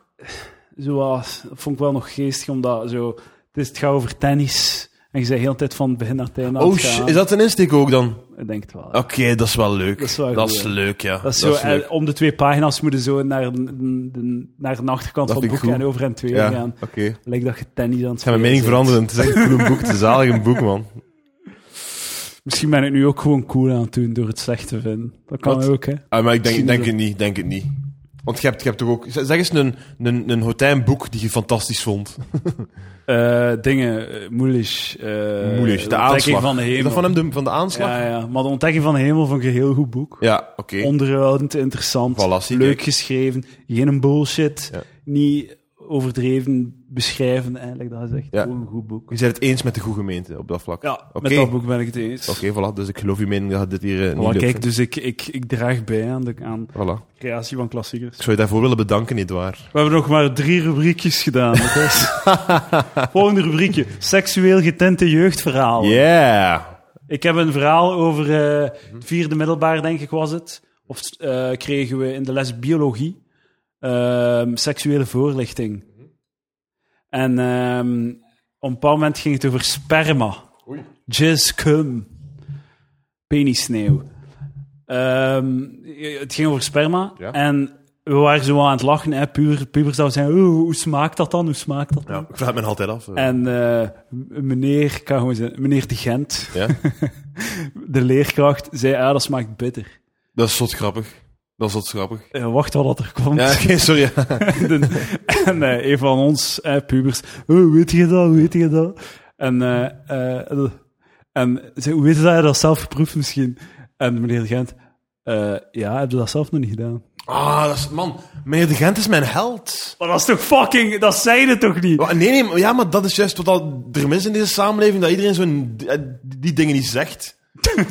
A: zoals, vond ik wel nog geestig, omdat zo, het, is, het gaat over tennis. En je zei heel de tijd van begin naar het einde. aan
B: Oh,
A: het
B: sh-
A: gaan.
B: is dat een insteek ook dan?
A: Ik denk het wel.
B: Oké, dat is wel leuk.
A: Dat is wel goed, hè.
B: leuk, ja.
A: Dat is zo, en
B: leuk.
A: om de twee pagina's moeten zo naar, de- de- naar de achterkant
B: Dat
A: van het
B: vind ik
A: boek en
B: goed.
A: over en twee
B: Ja,
A: gaan.
B: oké. Ik
A: Lijkt dat je tennis aan het
B: ga mijn mening
A: spelen bent.
B: veranderen. Het is echt een cool boek. Het is een zalig boek, man.
A: Misschien ben ik nu ook gewoon cool aan het doen door het slecht te vinden. Dat kan
B: Wat?
A: ook, hè.
B: Ah, maar ik denk,
A: Misschien
B: denk
A: is
B: het niet, denk het niet. Want je hebt, je hebt toch ook... z- Zeg eens een, een, een hotijnboek die je fantastisch vond.
A: Eh, dingen, eh, moeilijk. eh,
B: Moeilijk, de
A: Ontdekking
B: aanslag.
A: van de
B: Is
A: hemel.
B: dat van hem, de, van de aanslag? Ja,
A: ja, ja, maar de ontdekking van de hemel vond ik een heel goed boek.
B: oké.
A: Onderhoudend, interessant,
B: Voilà, zie,
A: leuk
B: kijk.
A: geschreven, geen bullshit,
B: Ja.
A: niet overdreven beschrijven. Eigenlijk, dat is echt
B: Ja.
A: gewoon een goed boek.
B: Je bent het eens met de goede gemeente op dat vlak.
A: Ja, met
B: Oké.
A: dat boek ben ik het eens.
B: Oké, voilà. Dus ik geloof je mening dat je dit hier eh, niet
A: Maar
B: leuk
A: kijk,
B: vindt.
A: dus ik, ik, ik draag bij aan de, aan de
B: Voilà.
A: creatie van klassiekers.
B: Ik zou je daarvoor willen bedanken, Edouard.
A: We hebben nog maar drie rubriekjes gedaan. dat is- Volgende rubriekje. Seksueel getinte jeugdverhaal.
B: Yeah!
A: Ik heb een verhaal over eh,
B: Mhm.
A: het vierde middelbaar, denk ik was het. Of eh, kregen we in de les biologie ehm, seksuele voorlichting.
B: Mhm.
A: En ehm, op een bepaald moment ging het over sperma.
B: Oei.
A: Jizz, cum. Penisneeuw. Ehm, het ging over sperma.
B: Ja.
A: En we waren zo aan het lachen. Hè, puur, pubers zouden zeggen, "Oeh, hoe smaakt dat dan? Hoe smaakt dat dan?
B: Ja, ik vraag het me nog altijd af. eh.
A: En eh, m- meneer, ik kan gewoon zeggen, meneer de Gent,
B: Ja?
A: de leerkracht, zei, ja, dat smaakt bitter.
B: Dat is zot grappig. Dat is zot grappig.
A: Eh, wacht wel dat er komt.
B: Ja, *laughs* oké, sorry.
A: *laughs* De- en eh, een van ons, eh, pubers, oh, weet je dat, weet je dat? En, eh, eh, en zei, hoe weet je dat, heb je dat zelf geproefd misschien? En meneer de Gent, eh, ja, heb je dat zelf nog niet gedaan?
B: Ah, dat is... Man, meneer de Gent is mijn held.
A: Maar dat is toch fucking, dat zei je toch niet? *laughs*
B: Wa- Nee, nee, maar- ja, maar dat is juist wat al er mis in deze samenleving, dat iedereen zo'n... eh, die dingen niet zegt.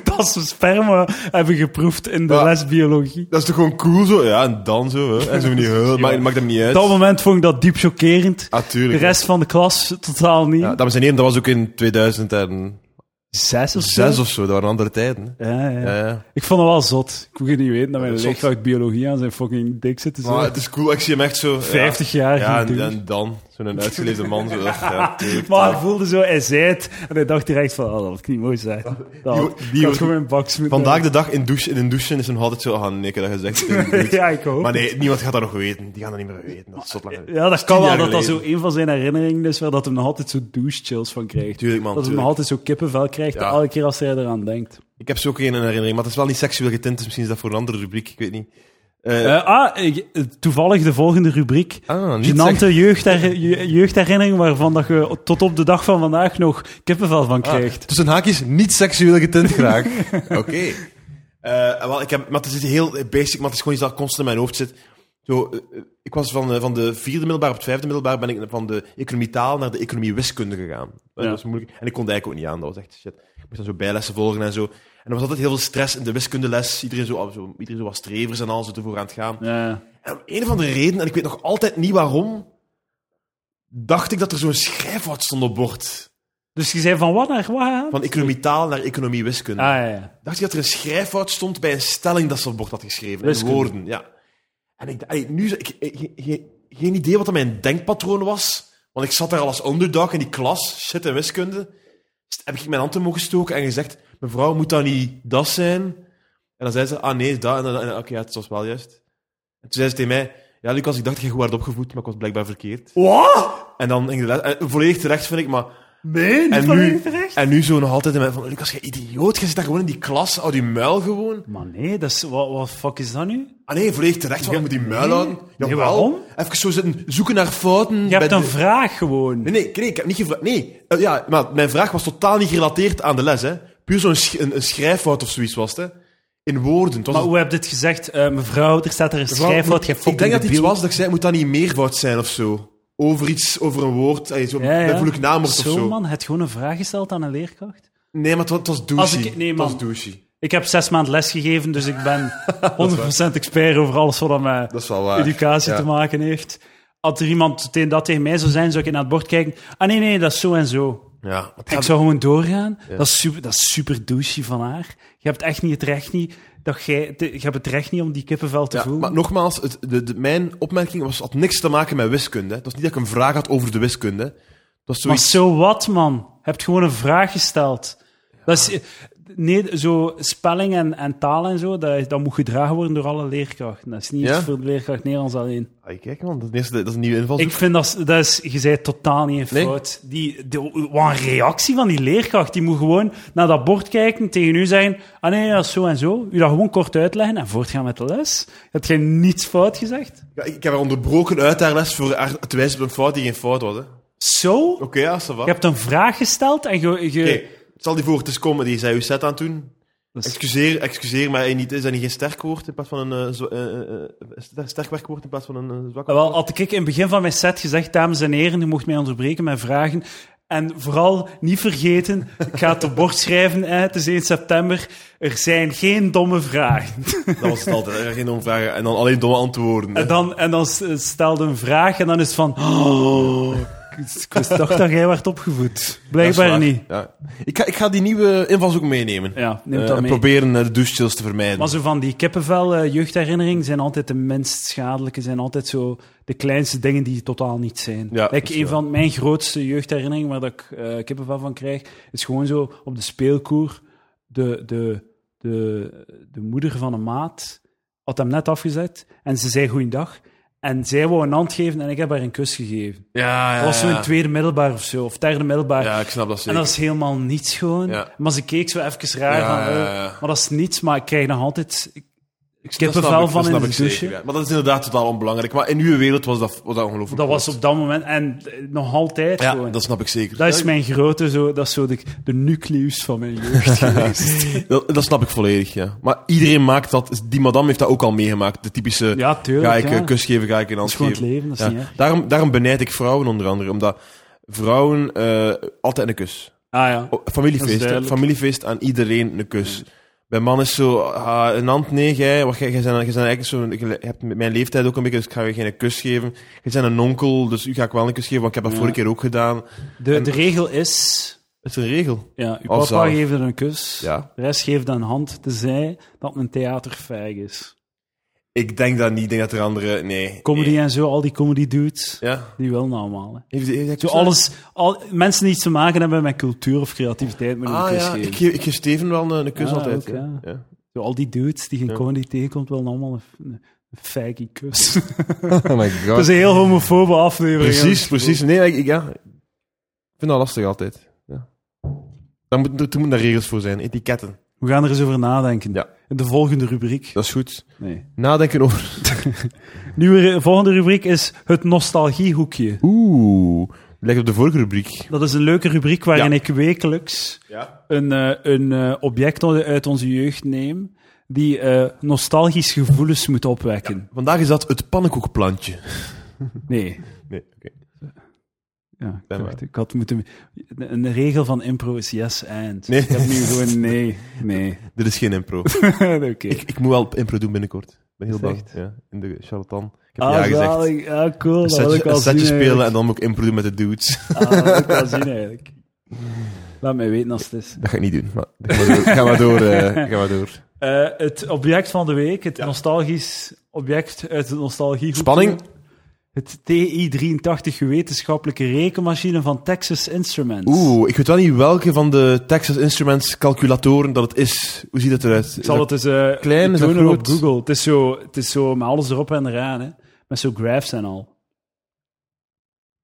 A: Dat ze sperma hebben geproefd in de
B: Ja.
A: les biologie.
B: Dat is toch gewoon cool zo? Ja, en dan zo, hè. En zo van die...
A: *laughs*
B: eh, maakt, maakt hem niet
A: Op
B: uit.
A: dat moment vond ik dat diep chockerend.
B: Ah,
A: De
B: tuurlijk.
A: rest van de klas totaal niet.
B: Ja, dames en heren, dat was ook in 2006
A: Zes of zo?
B: Zes of zo, dat waren andere tijden. hè.
A: Ja, ja.
B: Ja, ja.
A: Ik vond het wel zot. Ik kon niet weten dat mijn
B: Zot.
A: leerkracht biologie aan zijn fucking dik zit. te
B: Maar
A: zo.
B: het is cool, ik zie hem echt zo... ja.
A: 50 jaar
B: Ja, en,
A: ging doen.
B: en dan, zo'n uitgeleefde man. Zo, ach,
A: *laughs*
B: ja, tuurlijk,
A: Maar hij
B: tuurlijk.
A: voelde zo, hij zei het. En hij dacht direct van, oh, dat ik niet mooi zijn. Dat
B: Die-
A: had,
B: die-
A: ik had gewoon een bak moeten *laughs*
B: Vandaag de dag in, douche, in een douche is hem altijd zo ah, aan nikken dat je zegt. in de
A: hebben. *laughs*
B: douche.
A: Ja, ik hoop
B: Maar
A: het.
B: nee, niemand gaat dat nog weten. Die gaan dat niet meer weten. Dat is zo lang.
A: Ja, dat kan
B: tien
A: wel.
B: jaar
A: Dat dat zo
B: geleden.
A: een van zijn herinneringen is, waar dat hem nog altijd zo douche chills van krijgt.
B: Tuurlijk,
A: dat
B: man.
A: hij nog
B: tuurlijk.
A: altijd zo kippenvel krijgt,
B: Ja.
A: elke keer als hij eraan denkt.
B: Ik heb zo ook geen herinnering, maar het is wel niet seksueel getint. Dus misschien is dat voor een andere rubriek, ik weet niet. Eh,
A: Eh, ah, ik- eh, toevallig de volgende rubriek.
B: ah, niet seks-
A: Genante jeugdher je- jeugdherinnering waarvan dat je tot op de dag van vandaag nog kippenvel van
B: ah,
A: krijgt.
B: tussen haakjes, niet seksueel getint graag. *laughs* Oké. Eh, wel, ik heb, maar het is heel basic, maar het is gewoon iets dat constant in mijn hoofd zit. Zo, eh, eh, ik was van, eh, van de vierde middelbaar op het vijfde middelbaar ben ik van de economie taal naar de economie wiskunde gegaan. Dat
A: Ja.
B: was moeilijk. En ik kon het eigenlijk ook niet aan, dat was echt shit. Ik moest dan zo bijlessen volgen en zo. En er was altijd heel veel stress in de wiskundeles. Iedereen zo, zo, iedereen zo was strevers en al, zo ervoor aan het gaan.
A: Ja.
B: En om een of andere reden, en ik weet nog altijd niet waarom, dacht ik dat er zo'n schrijfwoord stond op bord.
A: Dus je zei van wat naar wat?
B: Van economie taal naar economie wiskunde.
A: Ah ja, ja.
B: Dacht ik dat er een schrijfwoord stond bij een stelling dat ze op bord had geschreven. In
A: Wiskunde.
B: woorden, ja. En ik dacht, allee, nu, zo- ik, ik- ge- ge- geen idee wat dat mijn denkpatroon was. Want ik zat daar al als underdog in die klas, shit en wiskunde. Dus heb ik mijn hand in mogen stoken en gezegd, mevrouw, moet dat niet dat zijn? En dan zei ze, ah nee, dat. En dan, en- oké, ja, het was wel juist. En toen zei ze tegen mij, ja Lucas, ik dacht dat je goed werd opgevoed, maar ik was blijkbaar verkeerd.
A: Wat?
B: En dan ging de les, en volledig terecht vind ik, maar
A: Nee, niet
B: en
A: van
B: nu,
A: mij terecht.
B: en nu zo nog altijd in mijn van, Lucas, je idioot, je zit daar gewoon in die klas, hou die muil gewoon.
A: Maar nee, dat is, wat, wat fuck is dat nu?
B: Ah nee, volledig terecht, want je moet die muil houden.
A: nee,
B: Jawel.
A: waarom?
B: Even zo zitten zoeken naar fouten.
A: Je hebt
B: bij
A: een
B: de-
A: vraag gewoon.
B: Nee, nee, nee, ik heb niet gevraagd. Nee, Eh, ja, maar mijn vraag was totaal niet gerelateerd aan de les, hè. Puur zo'n sch- een, een schrijffout of zoiets was het, hè. In woorden. Het was
A: Maar
B: een-
A: hoe heb je dit gezegd? Eh, mevrouw, er staat er een
B: Mevrouw,
A: schrijfwoord, je
B: Ik denk dat het iets
A: debiel.
B: was dat ik zei, moet dat niet meervoud zijn of zo? Over iets, over een woord, eh, zo,
A: Ja, ja.
B: bijvoorbeeld naamwoord of
A: Zo,
B: zo.
A: man, het gewoon een vraag gesteld aan een leerkracht.
B: Nee, maar het was, het was douchey.
A: Als ik- nee,
B: Het was
A: man.
B: douchey.
A: Ik heb zes maand lesgegeven, dus ik
B: *laughs*
A: ben 100% expert over alles wat aan mij
B: Dat is wel waar.
A: educatie
B: Ja.
A: te maken heeft. Als er iemand tegen dat tegen mij zou zijn, zou ik naar het bord kijken. Ah nee, nee, dat is zo en zo.
B: Ja, want
A: Ik zou gewoon doorgaan. Dat, is super, dat is super douchey van haar. Je hebt echt niet het recht niet, dat jij, te- je hebt het recht niet om die kippenvel te
B: Ja,
A: voelen.
B: maar nogmaals, het, de, de- mijn opmerking was, had niks te maken met wiskunde. Het was niet dat ik een vraag had over de wiskunde. Het was
A: Maar
B: zoiets...
A: zo wat, man. Je hebt gewoon een vraag gesteld. Dat is, nee, zo spelling en, en taal en zo, dat, dat moet gedragen worden door alle leerkrachten. Dat is niet
B: Ja?
A: iets voor de leerkracht Nederlands alleen.
B: Ah, kijk man, dat is, een eerste- dat is een nieuwe invalshoek.
A: Ik vind dat, is- dat is, je zei het totaal niet in
B: Nee.
A: fout. Die, de, wat een reactie van die leerkracht. Die moet gewoon naar dat bord kijken, tegen u zeggen, ah nee, dat is zo en zo. U dat gewoon kort uitleggen en voortgaan met de les. Heb jij niets fout gezegd?
B: Ja, ik, ik heb haar onderbroken uit haar les voor haar te wijzen op een fout die geen fout was. hè. Oké,
A: Zo?
B: ja, ça va.
A: Je hebt een vraag gesteld en je... je-
B: Oké, stel die voor, het is comedy, zei uw set aan toen.
A: Dat is-
B: Excuseer, excuseer, maar eh, niet, is dat niet geen sterk woord in plaats van een eh, zo- eh, eh, eh, ster- sterk werkwoord in plaats van een eh, zwak
A: Ah,
B: woord?
A: Wel, had ik in het begin van mijn set gezegd, dames en heren, u mocht mij onderbreken met vragen. En vooral niet vergeten, ik ga het op bord schrijven, hè, het is 1 september, er zijn geen domme vragen.
B: Dat was het altijd, hè, geen domme vragen en dan alleen domme antwoorden. hè.
A: En dan, en dan s- stelde een vraag en dan is het van... Oh, ik wist- ik dacht dat jij werd opgevoed.
B: Dat is
A: Blijkbaar
B: waar,
A: niet.
B: Ja. Ik, ga, ik ga die nieuwe invalshoek meenemen.
A: Ja, neem
B: Eh,
A: dat
B: en
A: mee.
B: proberen eh, de douchechills te vermijden.
A: Maar zo van die kippenvel eh, jeugdherinneringen zijn altijd de minst schadelijke, zijn altijd zo de kleinste dingen die totaal niet zijn.
B: Ja, dat
A: Like,
B: is
A: een
B: waar.
A: van mijn grootste jeugdherinneringen waar dat ik eh, kippenvel van krijg, is gewoon zo op de speelkoer de, de, de, de moeder van een maat had hem net afgezet en ze zei goeiedag. En zij wou een hand geven en ik heb haar een kus gegeven.
B: Ja, ja,
A: Dat was zo
B: Ah, ja.
A: in tweede middelbaar of zo, of derde middelbaar.
B: Ja, ik snap dat zeker.
A: En dat is helemaal niets gewoon.
B: Ja.
A: Maar ze keek zo even raar
B: Ja,
A: van, eh,
B: ja, ja.
A: maar dat is niets, maar ik krijg nog altijd ik-
B: ik
A: kippenvel van in de douche.
B: Maar dat is inderdaad totaal onbelangrijk. Maar in uw wereld was dat, was dat ongelooflijk.
A: Dat was op dat moment en eh, nog altijd
B: Ja,
A: gewoon.
B: dat snap ik zeker.
A: Dat is mijn grote, zo, dat is zo de, de nucleus van mijn
B: *laughs*
A: jeugd geweest.
B: dat, dat snap ik volledig, ja. Maar iedereen maakt dat... Die madame heeft dat ook al meegemaakt. De typische...
A: Ja, tuurlijk.
B: ga ik
A: ja.
B: een kus geven, ga ik een
A: dat
B: hand
A: is gewoon het
B: geven.
A: leven, dat is niet
B: Ja.
A: erg.
B: Daarom, daarom benijd ik vrouwen onder andere. Omdat vrouwen eh, altijd een kus.
A: Ah ja.
B: Oh,
A: Dat is
B: familiefeest, hè.
A: duidelijk.
B: familiefeest aan iedereen een kus. Bij man is zo, ah, een hand, nee, jij, wat, jij, jij bent- jij bent eigenlijk zo, je hebt met mijn leeftijd ook een beetje, dus ik ga je geen kus geven. Je bent een onkel, dus u ga ik wel een kus geven, want ik heb dat
A: Ja.
B: vorige keer ook gedaan.
A: De,
B: En-
A: de regel is,
B: Het is een regel.
A: Ja, uw
B: Oh,
A: papa
B: zalig.
A: geeft er een kus.
B: Ja.
A: De rest geeft een hand te zij dat men theaterfeig is.
B: Ik denk dat niet. Ik denk dat er andere... Nee.
A: Comedy
B: Nee.
A: en zo, al die comedy dudes,
B: Ja.
A: die wel allemaal. hè.
B: Heeft, heeft, heeft-
A: Zo alles, al, mensen die iets te maken hebben met cultuur of creativiteit, moeten een
B: Ah
A: kus
B: ja,
A: geven.
B: ik geef, ik geef Steven wel een, een kus
A: Ah,
B: altijd.
A: ook,
B: ja.
A: ja.
B: Ja.
A: Zo, al die dudes die geen
B: Ja.
A: comedy tegenkomt, wel allemaal een, een feigie kus.
B: *laughs* Oh my
A: *laughs* Dat is
B: god.
A: een heel homofobe aflevering. hè.
B: Precies, precies. Nee, ik, ik- ja. ik vind dat lastig altijd. Ja. Daar moeten er, er moeten daar regels voor zijn, etiketten.
A: We gaan er eens over nadenken.
B: Ja.
A: In de volgende rubriek.
B: Dat is goed.
A: Nee.
B: Nadenken over... *laughs*
A: Nieuwe ru- volgende rubriek is het nostalgiehoekje.
B: Oeh, lijkt op de vorige rubriek.
A: Dat is een leuke rubriek waarin
B: Ja.
A: ik wekelijks
B: Ja.
A: een, eh, een eh, object uit onze jeugd neem die eh nostalgisch gevoelens moet opwekken.
B: Vandaag is dat het pannenkoekplantje.
A: Nee.
B: Nee, oké.
A: Ja, ik,
B: Ben
A: dacht, ik had moeten... Een regel van impro is yes and.
B: Nee.
A: Ik heb nu gewoon nee.
B: *laughs*
A: Nee. *laughs*
B: Dit is geen impro.
A: Oké.
B: ik, ik moet wel impro doen binnenkort. Ik ben heel
A: Echt?
B: bang. Ja, in de charlatan. Ik heb ja
A: Ah,
B: gezegd.
A: zalig. ah, cool.
B: Een
A: Dat wil ik
B: setje,
A: wel
B: een setje
A: zien,
B: spelen en
A: eigenlijk.
B: dan moet ik impro doen met de dudes.
A: Ah, dat wil ik wel zien eigenlijk. Laat mij weten als het is.
B: *laughs* Dat ga ik niet doen. *laughs* Maar ga maar door. Ga maar door, eh, *laughs* ga maar door.
A: Eh, het object van de week, het nostalgisch object uit de nostalgie.
B: Spanning.
A: Het TI-83 wetenschappelijke rekenmachine van Texas Instruments.
B: Oeh, ik weet wel niet welke van de Texas Instruments calculatoren dat het is. Hoe ziet dat eruit?
A: Ik zal het eens eh
B: klein, is dat
A: tonen op
B: groot?
A: Google. Het is, zo, het is zo met alles erop en eraan, hè. Met zo graphs en al.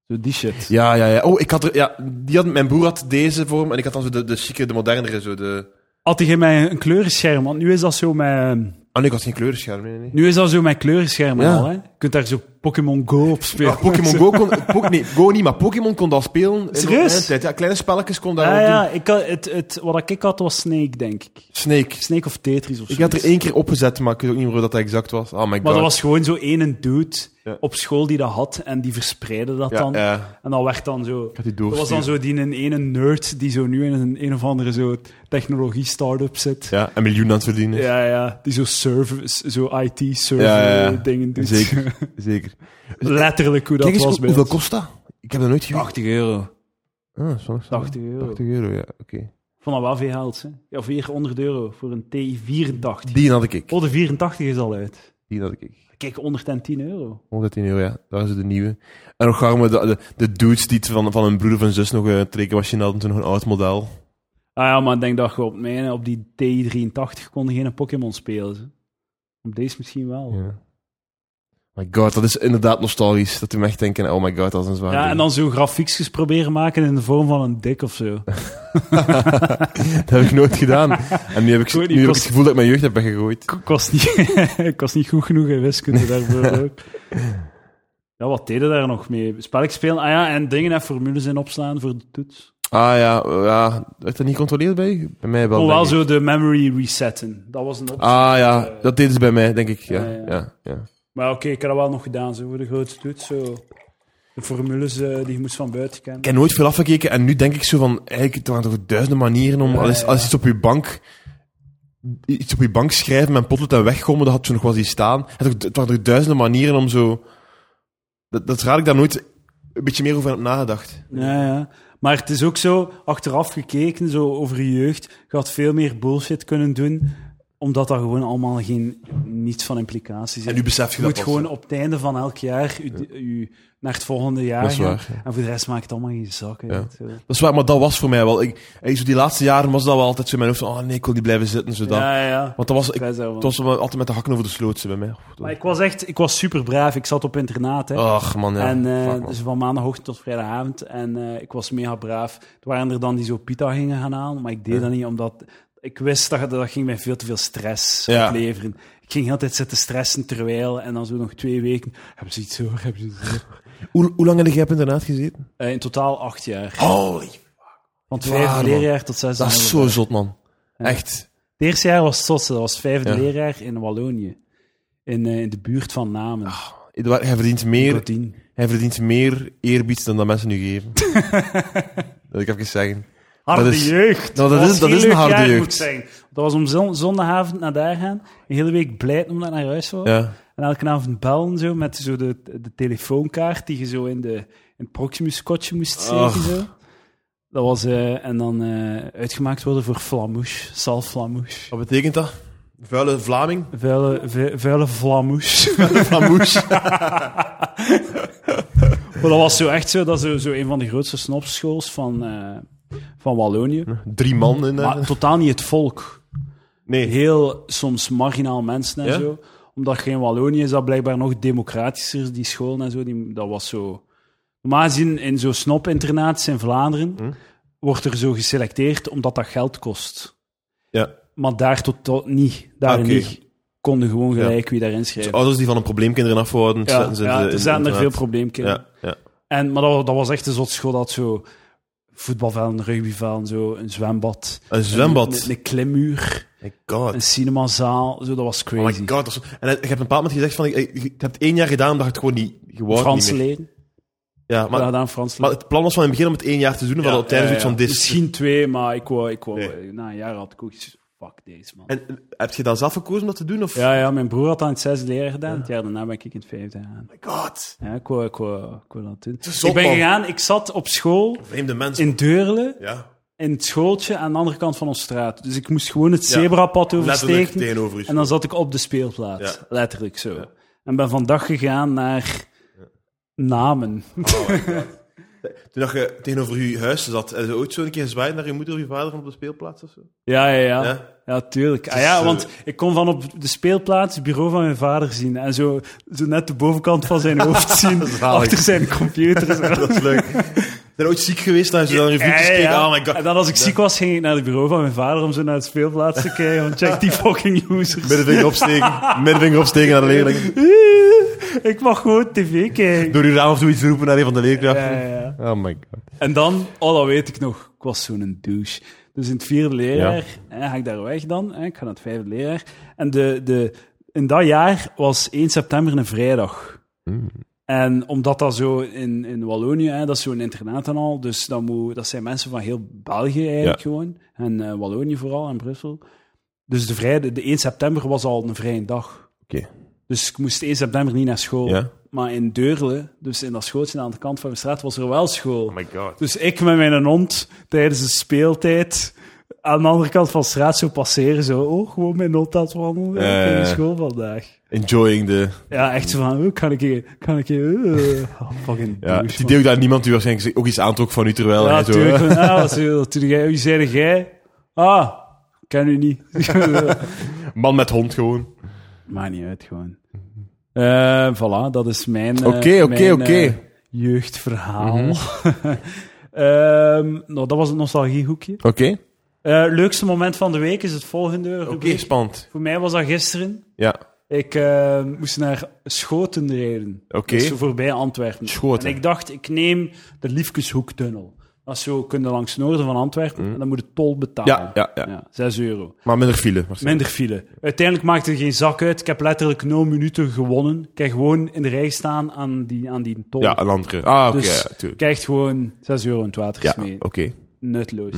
A: Zo die shit.
B: Ja, ja, ja. Oh, ik had er, ja die had, mijn broer had deze vorm en ik had dan zo de, de chique, de modernere. Zo de...
A: Had hij mij een kleurenscherm, want nu is dat zo met,
B: Ah nee, ik had geen kleurenscherm. Nee, nee, nee.
A: nu is dat zo met kleurenschermen
B: Ja.
A: al, hè. Je kunt daar zo Pokémon Go op spelen.
B: Ja, Pokémon
A: *laughs*
B: Go kon... Pok- nee, Go niet, maar Pokémon kon dat spelen. in
A: Serieus?
B: mijn tijd. Ja, kleine spelletjes kon daar
A: Ja,
B: wel
A: Ah, ja,
B: doen.
A: ik had, het, het, wat ik had was Snake, denk ik.
B: Snake.
A: Snake of Tetris of zo.
B: Ik had er één keer opgezet, maar ik weet ook niet meer hoe dat exact was. Oh my god.
A: Maar er was gewoon zo één dude
B: Ja.
A: op school die dat had en die verspreidde dat
B: ja,
A: dan.
B: ja.
A: En dat werd dan zo...
B: Ik had die
A: Dat was dan
B: doorgestuurd.
A: zo die een ene nerd die zo nu in een, een of andere zo technologie-start-up zit. Ja.
B: Ja, een miljoen aan het verdienen. is.
A: Ja, die zo service, zo IT-server
B: Ja, ja, ja.
A: dingen doet.
B: Zeker. *laughs* Zeker.
A: *laughs* Letterlijk hoe dat
B: Kijk eens,
A: was
B: hoe-
A: bij ons.
B: hoeveel kost dat? Ik heb dat nooit gehoord.
A: 80 euro.
B: Ah, dat is wel nog zo.
A: 80 euro.
B: 80 euro, ja, oké.
A: Van dat waffe haalt, hè. Ja, 400 euro voor een T84.
B: Die had ik.
A: Oh, de 84 is al uit.
B: Die had ik.
A: Kijk, 110 euro.
B: 110 euro, ja. Daar is de nieuwe. En nog gaan we de, de, de dudes die het van, van hun broer of hun zus nog eh, een rekenmachine hadden, toen nog een oud model.
A: Ah ja, maar ik denk dat je op, mijn, op die T83 kon je geen Pokémon spelen. ze. Op deze misschien wel. Ja,
B: Ja. My god, dat is inderdaad nostalgisch. Dat doet me echt denken, oh my god, dat is een zwaar ding.
A: en dan zo grafiekjes proberen maken in de vorm van een dik of zo.
B: *laughs* dat heb ik nooit gedaan. En nu heb ik,
A: Ik weet niet,
B: nu heb ik
A: kost-
B: het gevoel dat ik mijn jeugd heb weggegooid.
A: Ik was niet, ik was niet *laughs* goed genoeg in wiskunde
B: *laughs*
A: daarvoor ook. Ja, wat deden daar nog mee? Spelletjes spelen, ah ja, en dingen en formules in opslaan voor de toets.
B: Ah ja, eh, ja. Werd dat niet gecontroleerd bij u? Bij mij wel.
A: Kon Oh, wel
B: denk ik.
A: zo de memory resetten. Dat was een optie.
B: Ah ja, dat deden ze bij mij, denk ik. Ja,
A: Ah, Ja, ja.
B: ja, ja.
A: Maar oké, ik heb dat wel nog gedaan, zo voor de grote toets. Zo. De formules eh, die je moest van buiten kennen.
B: Ik heb nooit veel afgekeken en nu denk ik zo van, eigenlijk, er waren toch duizenden manieren om,
A: Ja,
B: als,
A: ja.
B: als iets op je bank, iets op je bank schrijven met een potlood en weggommen, dat had zo nog wel zien staan. Er waren toch- er waren toch duizenden manieren om zo, dat, dat is raar dat ik daar nooit een beetje meer over heb nagedacht.
A: Ja, ja. Maar het is ook zo, achteraf gekeken, zo over je jeugd, je had veel meer bullshit kunnen doen, omdat daar gewoon allemaal geen, niets van implicaties
B: En
A: is.
B: nu besef je
A: Je
B: dat
A: moet
B: pas.
A: gewoon op het einde van elk jaar u, u, naar het volgende jaar
B: Dat is
A: gaan.
B: waar, ja.
A: En voor de rest maakt het allemaal geen zak uit.
B: Ja.
A: Zo.
B: Dat is waar, maar dat was voor mij wel. Ik, ik- zo die laatste jaren was dat wel altijd zo in mijn hoofd van, oh nee, ik wil niet blijven zitten, zo dat.
A: ja, ja.
B: Want dat was,
A: Ik
B: ik,
A: was daarvan.
B: het was wel altijd met de hakken over de sloot zo bij mij. Oeh, dat-
A: Maar ik was echt, ik was super braaf. Ik zat op internaat, hè.
B: Ach man, ja.
A: en eh,
B: Fuck, man.
A: dus van maandagochtend tot vrijdagavond. En eh, ik was mega braaf. Er waren er dan die zo pita gingen gaan halen, maar ik deed
B: Ja.
A: dat niet, omdat ik wist dat dat ging mij veel te veel stress
B: Ja.
A: opleveren. Ik ging heel de tijd zitten stressen terwijl, en dan zo nog twee weken. Heb ze iets hoor, heb ze iets hoor.
B: Hoe, hoe lang heb jij op internaat gezeten?
A: Eh, in totaal acht jaar.
B: Holy
A: Van het
B: Waar,
A: vijfde
B: man.
A: leerjaar tot zesde.
B: Dat is zo zot, man.
A: Ja.
B: Echt.
A: Het eerste jaar was het zotste, dat was het vijfde
B: Ja.
A: leerjaar in Wallonië. In, eh, in de buurt van Namen.
B: Eduard, hij, verdient meer,
A: Routine.
B: hij verdient meer eerbied dan dat mensen nu
A: *laughs*
B: geven. dat ik even zeggen.
A: Harde
B: Dat is-
A: jeugd.
B: Nou, dat
A: was
B: is- dat
A: geen
B: is een
A: leuk
B: harde
A: jaar,
B: jeugd.
A: Moet ik zeggen. Dat was om zon- zondagavond naar daar gaan. Een hele week blij om naar huis te worden.
B: Ja.
A: En elke avond bellen zo, met zo de, de telefoonkaart die je zo in, de, in het Proximus-kotje moest steken.
B: Ach.
A: Zo. Dat was, eh, en dan eh, uitgemaakt worden voor flamouche, salflamouche.
B: Wat betekent dat?
A: *laughs*
B: Vuile Vlaming?
A: Vuile, vu- vuile flamouche. *laughs*
B: Flamouche.
A: maar dat was zo echt zo, dat is zo, zo een van de grootste snopschools van, eh, van Wallonië.
B: Drie man in... eh,
A: Maar totaal niet het volk.
B: nee.
A: Heel soms marginaal mensen en
B: Ja?
A: zo. Omdat er geen Wallonië is, dat blijkbaar nog democratischer, die school en zo. Die, dat was zo. Normaal gezien, in zo'n snopinternaat in Vlaanderen
B: Hm.
A: wordt er zo geselecteerd omdat dat geld kost.
B: Ja.
A: Maar daar tot, tot niet. Daar
B: Ah, oké.
A: niet. Konden gewoon gelijk wie daarin schrijven.
B: Dus Ouders die van hun probleemkinderen afhouden.
A: ja,
B: zetten ze
A: ja,
B: in de-
A: er zaten er
B: in het
A: veel
B: internaat.
A: probleemkinderen.
B: Ja, ja.
A: En, maar dat, wa- dat was echt een soort school dat zo voetbalvelden, rugbyvelden, zo, een zwembad.
B: Een
A: Een,
B: zwembad.
A: een, een klimmuur,
B: My god.
A: een cinemazaal, zo, dat was
B: Oh my
A: crazy.
B: god. dat is- En je hebt een bepaald moment gezegd van... Ik, ik- ik heb het één jaar gedaan, omdat je het gewoon niet... Gewoon
A: Frans
B: niet meer.
A: leren.
B: Ja,
A: Maar,
B: maar,
A: gedaan Frans
B: maar
A: leren.
B: het plan was van in het begin om het één jaar te doen. en we hadden op tijd
A: Ja,
B: zoiets
A: ja,
B: van... Dit,
A: Misschien twee, maar ik wou, ik wou,
B: Nee.
A: na een jaar had ik ook iets- fuck deze man.
B: En eh, heb je dat zelf gekozen om dat te doen? Of?
A: ja, ja, mijn broer had dat in het zesde jaar gedaan. Het jaar daarna ben ik in het vijfde gegaan.
B: my god.
A: Ja, ik wou, ik wou, ik wou dat doen.
B: zot,
A: ik ben
B: man.
A: gegaan, ik zat op school
B: Vreemde mensen.
A: in Deurle,
B: Ja.
A: in het schooltje aan de andere kant van onze straat. Dus ik moest gewoon het zebrapad
B: Letterlijk
A: oversteken.
B: tegenover u.
A: En dan zat ik op de speelplaats.
B: Ja.
A: Letterlijk zo.
B: Ja.
A: En ben vandaag gegaan naar namen.
B: Toen dat je tegenover je huis zat, heb je ooit zo een keer gezwaaid naar je moeder of je vader van op de
A: *laughs*
B: speelplaats of zo?
A: Ja, ja, ja.
B: Ja?
A: Ja, tuurlijk. Ah,
B: is,
A: ja,
B: eh,
A: want ik kon van op de speelplaats het bureau van mijn vader zien. En zo, zo net de bovenkant van zijn hoofd
B: *laughs*
A: zien.
B: Zalig.
A: achter zijn computer. zo.
B: Dat is leuk. Zijn je ooit ziek geweest als je dan je
A: Ja,
B: vriendjes
A: ja,
B: keek?
A: ja.
B: Oh my
A: En
B: god.
A: dan als ik ziek was, ging ik naar het bureau van mijn vader om zo naar het speelplaats te kijken. Want check die
B: *laughs*
A: fucking users.
B: Middenvinger opsteken. Middenvinger opsteken naar de leerling.
A: *laughs* ik mag gewoon tv kijken.
B: Door je raam of zoiets roepen naar een van de leerkrachten.
A: Ja, ja, ja.
B: Oh my god.
A: En dan, oh, dat weet ik nog, ik was zo'n douche. Dus in het vierde leerjaar hè, ga ik daar weg dan. Hè, ik ga naar het vijfde leerjaar. En de, de, in dat jaar was 1 september een vrijdag.
B: Hmm.
A: En omdat dat zo in, in Wallonië, hè, dat is zo'n internaat en al, dus dat, moet, dat zijn mensen van heel België eigenlijk
B: Ja.
A: gewoon. En eh, Wallonië vooral, en Brussel. Dus de, vrijde, de 1 september was al een vrije dag.
B: Oké.
A: Dus ik moest 1 september niet naar school.
B: Ja?
A: Maar in Deurle, dus in dat schooltje aan de kant van de straat, was er wel school.
B: Oh my god.
A: Dus ik met mijn hond tijdens de speeltijd aan de andere kant van de straat zo passeren. Zo, oh, gewoon mijn hond aan het wandelen.
B: Ja,
A: ik ben
B: ja,
A: naar
B: ja.
A: school vandaag.
B: Enjoying the...
A: Ja, echt zo van, oh, kan ik hier, kan ik hier, eh, oh, fucking
B: Ja,
A: douche,
B: het idee ook dat niemand u waarschijnlijk ook iets aantrok van u terwijl
A: man.
B: hij
A: Ja,
B: zo...
A: tuurlijk. Van, ah, wat wil- wat doe jij? Wie zei jij? Ah, ken u niet. *laughs*
B: Man met hond gewoon.
A: Maakt niet uit, gewoon. Eh voilà, dat is mijn, eh,
B: Oké, oké,
A: mijn,
B: oké. Mhm.
A: eh, jeugdverhaal. *laughs* Ehm, nou, dat was het nostalgiehoekje.
B: Oké.
A: Eh, leukste moment van de week is het volgende.
B: Oké,
A: rubriek.
B: spannend.
A: Voor mij was dat gisteren.
B: Ja.
A: Ik eh, moest naar Schoten rijden.
B: Oké.
A: Dat is zo voorbij Antwerpen.
B: Schoten.
A: En ik dacht, ik neem de Liefkeshoektunnel. Dat is zo, kun je langs het noorden van Antwerpen en dan moet je tol betalen.
B: Mm. Ja, ja, ja.
A: 6 euro.
B: Maar minder file. waarschijnlijk.
A: Minder file. Uiteindelijk maakte er geen zak uit. Ik heb letterlijk 0 minuten gewonnen. Ik heb gewoon in de rij staan aan die, aan die tol.
B: Ja, een andere. Ah, oké.
A: Dus-
B: ja, tuurlijk.
A: Ik krijg gewoon 6 euro in het water
B: Ja, Mm.
A: gesmeten
B: oké.
A: nutloos.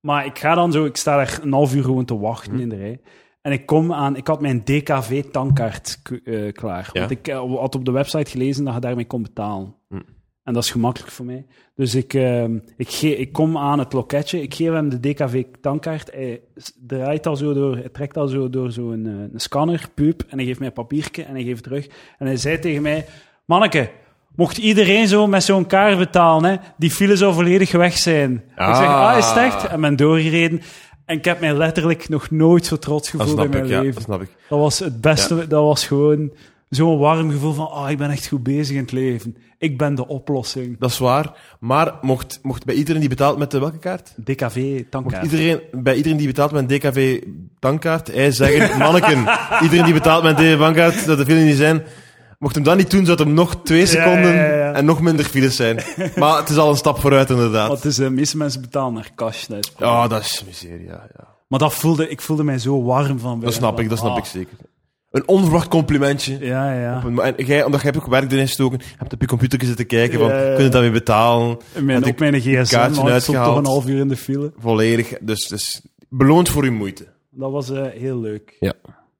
A: Maar ik ga dan zo, ik sta daar een half uur gewoon te wachten in de rij. En ik kom aan, ik had mijn DKV-tankkaart k- eh, klaar.
B: Ja.
A: Want ik eh, had op de website gelezen dat je daarmee kon betalen.
B: Hm.
A: En dat is gemakkelijk voor mij. Dus ik, ehm, ik, ge- ik kom aan het loketje, ik geef hem de DKV-tankkaart. Hij s- draait al zo door, hij trekt al zo door zo'n eh, een scanner, puup, en hij geeft mij een papiertje en hij geeft het terug. En hij zei tegen mij, manneke, mocht iedereen zo met zo'n kaart betalen, hè, die file zou volledig weg zijn. Ik zeg,
B: Ah.
A: ah, is het echt? En ben doorgereden. En ik heb mij letterlijk nog nooit zo trots
B: Dat
A: gevoeld in
B: snap
A: mijn
B: ik, ja. Dat
A: leven.
B: snap ik.
A: Dat was het beste. Dat was gewoon zo'n warm gevoel van, ah, ik ben echt goed bezig in het leven. Ik ben de oplossing.
B: Dat is waar. Maar mocht, mocht bij iedereen die betaalt met de welke kaart?
A: DKV,
B: Mocht
A: tankkaart.
B: iedereen, bij iedereen die betaalt met een DKV-bankkaart, hij zeggen, *laughs* manneken, iedereen die betaalt met een DKV-bankkaart, dat er veel niet zijn. Mocht hem dat niet doen, zou het hem nog twee seconden
A: ja, ja.
B: en nog minder files zijn. Maar het is al een stap vooruit, inderdaad.
A: Want het is, eh, de meeste mensen betalen naar cash. dat is-
B: Ja, dat is miserie, ja. ja.
A: Maar dat voelde, ik voelde mij zo warm van.
B: Dat snap
A: van,
B: ik, dat snap
A: ah.
B: ik zeker. Een onverwacht complimentje.
A: Ja, ja.
B: En Ah. jij, omdat jij hebt ook werk erin gestoken, hebt op je computer zitten kijken van,
A: Ja, ja, ja.
B: kun je dat weer betalen?
A: En Mijn,
B: Want
A: ook mijn gsm,
B: kaartje
A: want ik stond
B: uitgehaald.
A: toch een half uur in de file.
B: Volledig, dus, dus beloond voor uw moeite.
A: Dat was eh, heel leuk.
B: Ja.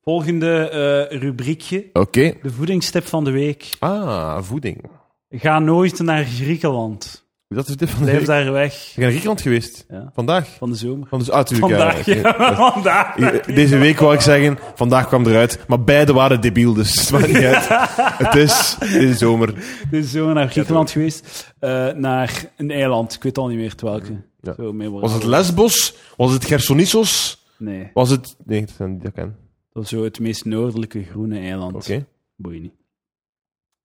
A: Volgende eh, rubriekje,
B: Oké.
A: de voedingstip van de week.
B: Ah, voeding.
A: Ga nooit naar Griekenland.
B: Dat is dit van de
A: Blijf
B: week.
A: daar weg.
B: Ik ben naar Griekenland geweest.
A: Ja.
B: Vandaag.
A: Van de zomer.
B: Van dus, ah, tuurlijk, ja,
A: Vandaag,
B: oké.
A: ja. *laughs* Vandaag.
B: Eh, Deze week wou ik zeggen, vandaag kwam eruit. Maar beide waren debiel, dus het maakt niet
A: *laughs*
B: uit. Het is de zomer.
A: Dus zo naar Griekenland geweest. eh, naar een eiland. Ik weet al niet meer het welke.
B: Ja.
A: Zo memorabel.
B: Was het Lesbos? Was het Gersonisos?
A: Nee.
B: Was het... Nee, dat zijn die dat ik ken.
A: Dat is zo het meest noordelijke groene eiland.
B: Oké.
A: Boeien niet.